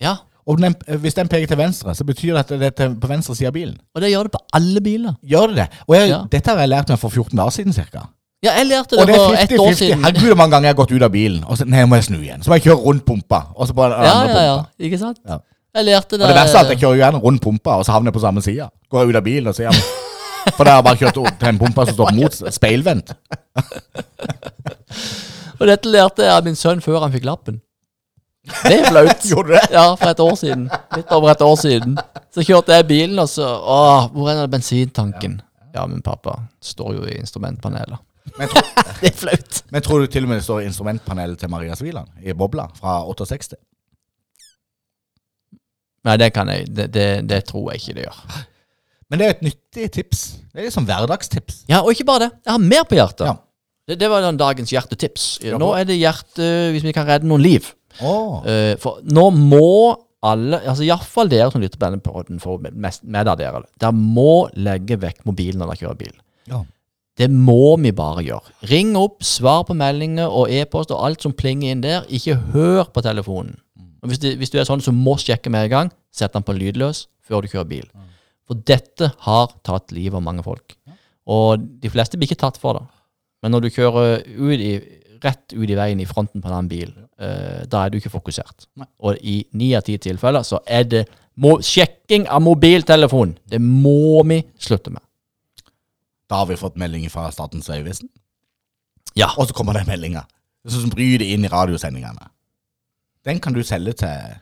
B: Ja.
C: Og den, hvis den peker til venstre, så betyr det at det er til, på venstre side av bilen.
B: Og det gjør det på alle biler.
C: Gjør det det? Og jeg,
B: Ja.
C: dette har jeg lært meg for 14 dager siden ca.
B: Ja, jeg lærte
C: Og det
B: det for
C: er
B: ett år
C: 50-50.
B: siden.
C: Herregud, hvor mange ganger jeg har gått ut av bilen, og så nei, må jeg snu igjen. Så må jeg kjøre rundt pumpa, og så på den
B: Ja,
C: andre
B: ja, ja.
C: pumpa.
B: Ikke sant?
C: Ja.
B: Jeg lærte det
C: Og det verste er at jeg kjører gjerne rundt pumpa, og så havner jeg på samme sida. Går jeg ut av bilen og ser meg. For da har jeg bare kjørt opp til en pumpe som står mot speilvendt.
B: Og dette lærte jeg av min sønn før han fikk lappen. Det er flaut.
C: Gjorde du det?
B: Ja, for et år siden. Litt over et år siden. Så kjørte jeg bilen, og så Åh, hvor er den bensintanken? Ja, men pappa står jo i instrumentpanelet.
C: Men tror,
B: Det er flaut.
C: men tror du til og med det står i instrumentpanelet til Maria Sviland i bobla fra 68?
B: Nei, det kan jeg Det, det, det tror jeg ikke det gjør.
C: Men det er et nyttig tips. Det er liksom hverdagstips.
B: Ja, og ikke bare det. Jeg har mer på hjertet.
C: Ja.
B: Det, det var den dagens hjertetips.
C: Ja,
B: Nå
C: bra.
B: er det hjerte Hvis vi kan redde noen liv.
C: Åh.
B: Eh, for nå må alle, altså iallfall dere som lytter på denne podden, for mest- med av dere, dere må legge vekk mobilen når dere kjører bil.
C: Ja.
B: Det må vi bare gjøre. Ring opp, svar på meldinger og e-post og alt som plinger inn der. Ikke hør på telefonen. Og hvis, det, hvis du er sånn som må sjekke med en gang, sett den på lydløs før du kjører bil. For dette har tatt livet av mange folk. Og de fleste blir ikke tatt for det. Men når du kjører ut i, rett ut i veien i fronten på en annen bil, eh, da er du ikke fokusert. Og i ni av ti tilfeller så er det må, sjekking av mobiltelefon. Det må vi slutte med.
C: Da har vi fått melding fra Statens vegvesen.
B: Ja.
C: Og så kommer den meldinga. Som bryr det inn i radiosendingene. Den kan du selge til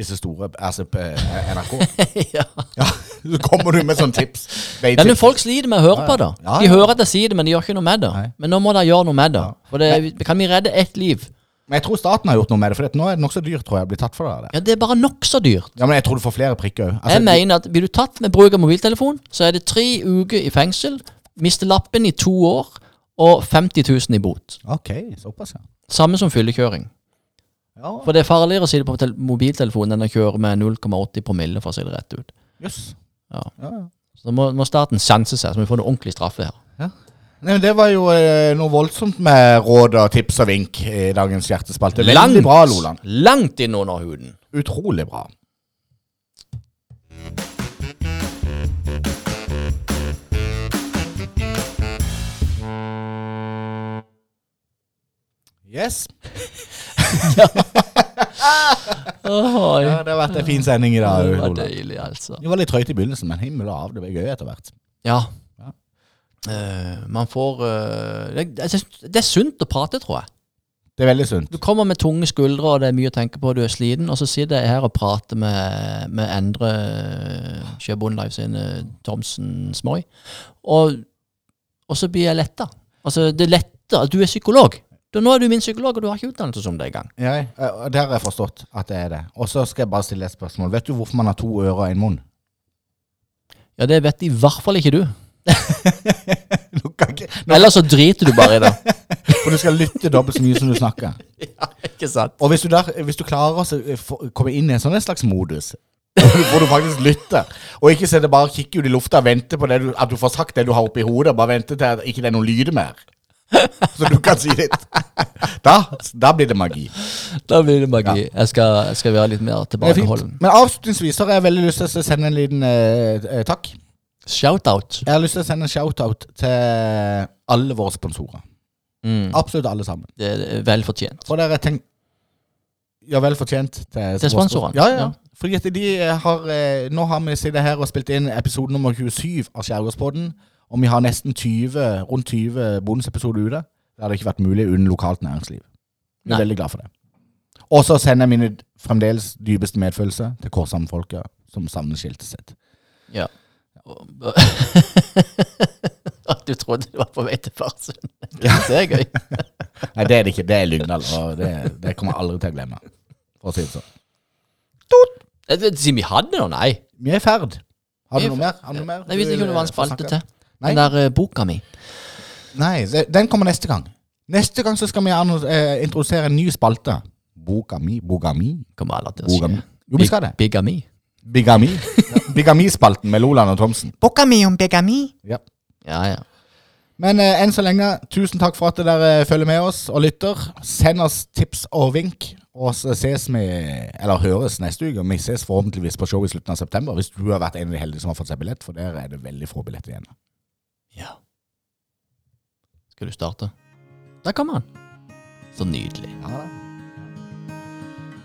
C: disse store altså, på, eh, NRK.
B: ja.
C: ja, Så kommer du med sånn tips.
B: Ja, men folk sliter med å høre på det.
C: Ja, ja.
B: De hører at jeg sier det, men de gjør ikke noe med det.
C: Nei.
B: Men nå må de gjøre noe med det. For det, kan vi redde ett liv?
C: Men jeg tror staten har gjort noe med det, for det- nå er det nokså dyrt, tror jeg, å bli tatt for det. der.
B: Ja, det er bare nokså dyrt. Altså,
C: Ja, men jeg tror du får flere prikker Altså, òg.
B: jeg mener at blir du tatt med bruk av mobiltelefon, så er det tre uker i fengsel, mister lappen i to år og 50 000 i bot.
C: Ok, såpass, ja.
B: Samme som fyllekjøring.
C: Ja,
B: For det er farligere å si det på tel- mobiltelefonen enn å kjøre med 0,80 promille, for å si det rett ut.
C: jøss.
B: Ja.
C: Ja, ja.
B: Så må, må staten sanse seg, så vi får noe ordentlig straffe her.
C: Nei, men Det var jo eh, noe voldsomt med råd og tips og vink i dagens hjertespalte. Veldig bra, Loland.
B: langt innunder huden.
C: Utrolig bra. Yes.
B: Oi.
C: Ja, det har vært en fin sending i dag.
B: Det var
C: Olav.
B: deilig, altså.
C: Vi var litt trøyte i begynnelsen, men himmel og hav, det ble gøy etter hvert.
B: Ja.
C: Ja.
B: Eh, man får eh, det, jeg synes- det er sunt å prate, tror jeg.
C: Det er veldig sunt.
B: Du kommer med tunge skuldre, og det er mye å tenke på, og du er sliten, og så sitter jeg her og prater med, med Endre Sjøbond Live sin eh, Thomsen Smoy, og, og så blir jeg letta. Altså, det letter at du er psykolog. Du, nå er du min psykolog, og du har ikke utdannelse som det engang.
C: Ja, jeg- eh, det har jeg forstått at det er det. Og så skal jeg bare stille et spørsmål. Vet du hvorfor man har to ører og en munn?
B: Ja, det vet i hvert fall ikke du.
C: Nå kan ikke, nå,
B: Ellers så driter du bare i det.
C: for du skal lytte dobbelt så mye som du snakker.
B: ikke sant?
C: Og hvis du, der, hvis du klarer å se- eh, få- komme inn i en sånn en slags modus hvor du faktisk lytter, og ikke sitter bare og kikker ut i lufta og venter på det du, at du får sagt det du har oppi hodet, bare venter til at ikke det er noen lyder mer, så du kan si litt, da, da blir det magi.
B: Da blir det magi. Jeg, skal, jeg skal være litt
C: Det
B: mer
C: er fint.
B: tilbakeholden.
C: Men avslutningsvis så har jeg veldig lyst til å sende en liten eh, eh, takk.
B: Shout-out.
C: Jeg har lyst til å sende en shout-out til alle våre sponsorer.
B: Mm.
C: Absolutt alle sammen.
B: Det er vel fortjent.
C: For dere tenk... Ja, vel fortjent til,
B: Til sponsorene.
C: Ja, ja.
B: Ja.
C: Fordi at de eh, har eh, Nå har vi sittet her og spilt inn episode nummer 27 av Skjærgårdspodden. Og vi har nesten 20, rundt 20 bonusepisoder ute. Det hadde ikke vært mulig uten lokalt næringsliv. Vi er
B: Nei.
C: veldig glad for det. Og så sender jeg mine fremdeles dypeste medfølelse til Korshamn-folket som savner skiltet sitt.
B: Ja. Og- At du trodde du var på vei til Farsund. Det er gøy.
C: Nei, det er det ikke. Det er Lyngdal, og det, det kommer jeg aldri til å glemme. For å si det sånn.
B: Jeg vet ikke, Siden vi hadde noe, nei.
C: Vi er i ferd. Har
B: Vi
C: du
B: er
C: noe
B: i
C: mer? Har du eh, noe mer?
B: Jeg visste ikke om det var en spalte til.
C: Nei.
B: Den der eh, boka mi.
C: Nei, se- den kommer neste gang. Neste gang så skal vi anno- eh, introdusere en ny spalte. Bogami, bogami,
B: Kommer aldri til å
C: bogami.
B: skje.
C: Jo, vi skal det.
B: Big- Bigami.
C: Bigami. Bigamispalten med Loland og Thomsen.
F: Boka mi om begami.
C: Ja.
B: Ja, ja.
C: Men eh, enn så lenge, tusen takk for at dere eh, følger med oss og lytter. Send oss tips og vink. Og så ses vi, eller høres neste uke. Vi ses forhåpentligvis på show i slutten av september. Hvis du har vært en av de heldige som har fått seg billett, for der er det veldig få billetter igjen.
B: ja. Skal du starte? Der kommer han. Så nydelig.
C: Ja, da.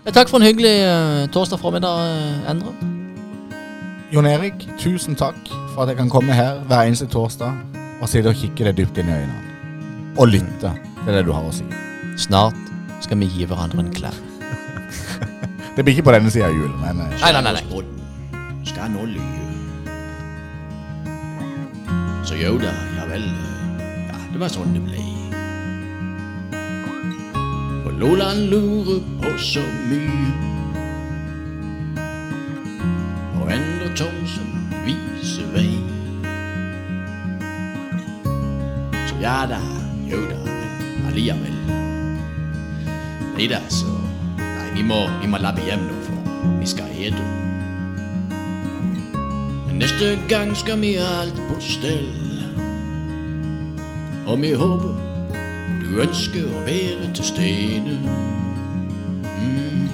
B: Eh, Takk for en hyggelig eh, torsdag formiddag, eh, Endre.
C: Jon Erik, tusen takk for at jeg kan komme her hver eneste torsdag og sitte og kikke deg dypt inn i øynene. Og lytte til det du har å si.
B: Snart skal vi gi hverandre en klem.
C: Det blir ikke på denne sida av jul, men eh,
B: Nei, nei, nei, nei.
A: Skjærgårdsbåten skal nå lyve. Så jo da, ja vel. Ja, det var sånn det ble. Og Loland lurer på så mye. Og Endre Thomsen viser vei. Så ja da, jo da, men alliavel. Nei da, så Nei, vi må, vi må labbe hjem nå, for vi skal ete. Neste gang skal vi ha alt på stell. Og vi håper du ønsker å være til stede. Mm.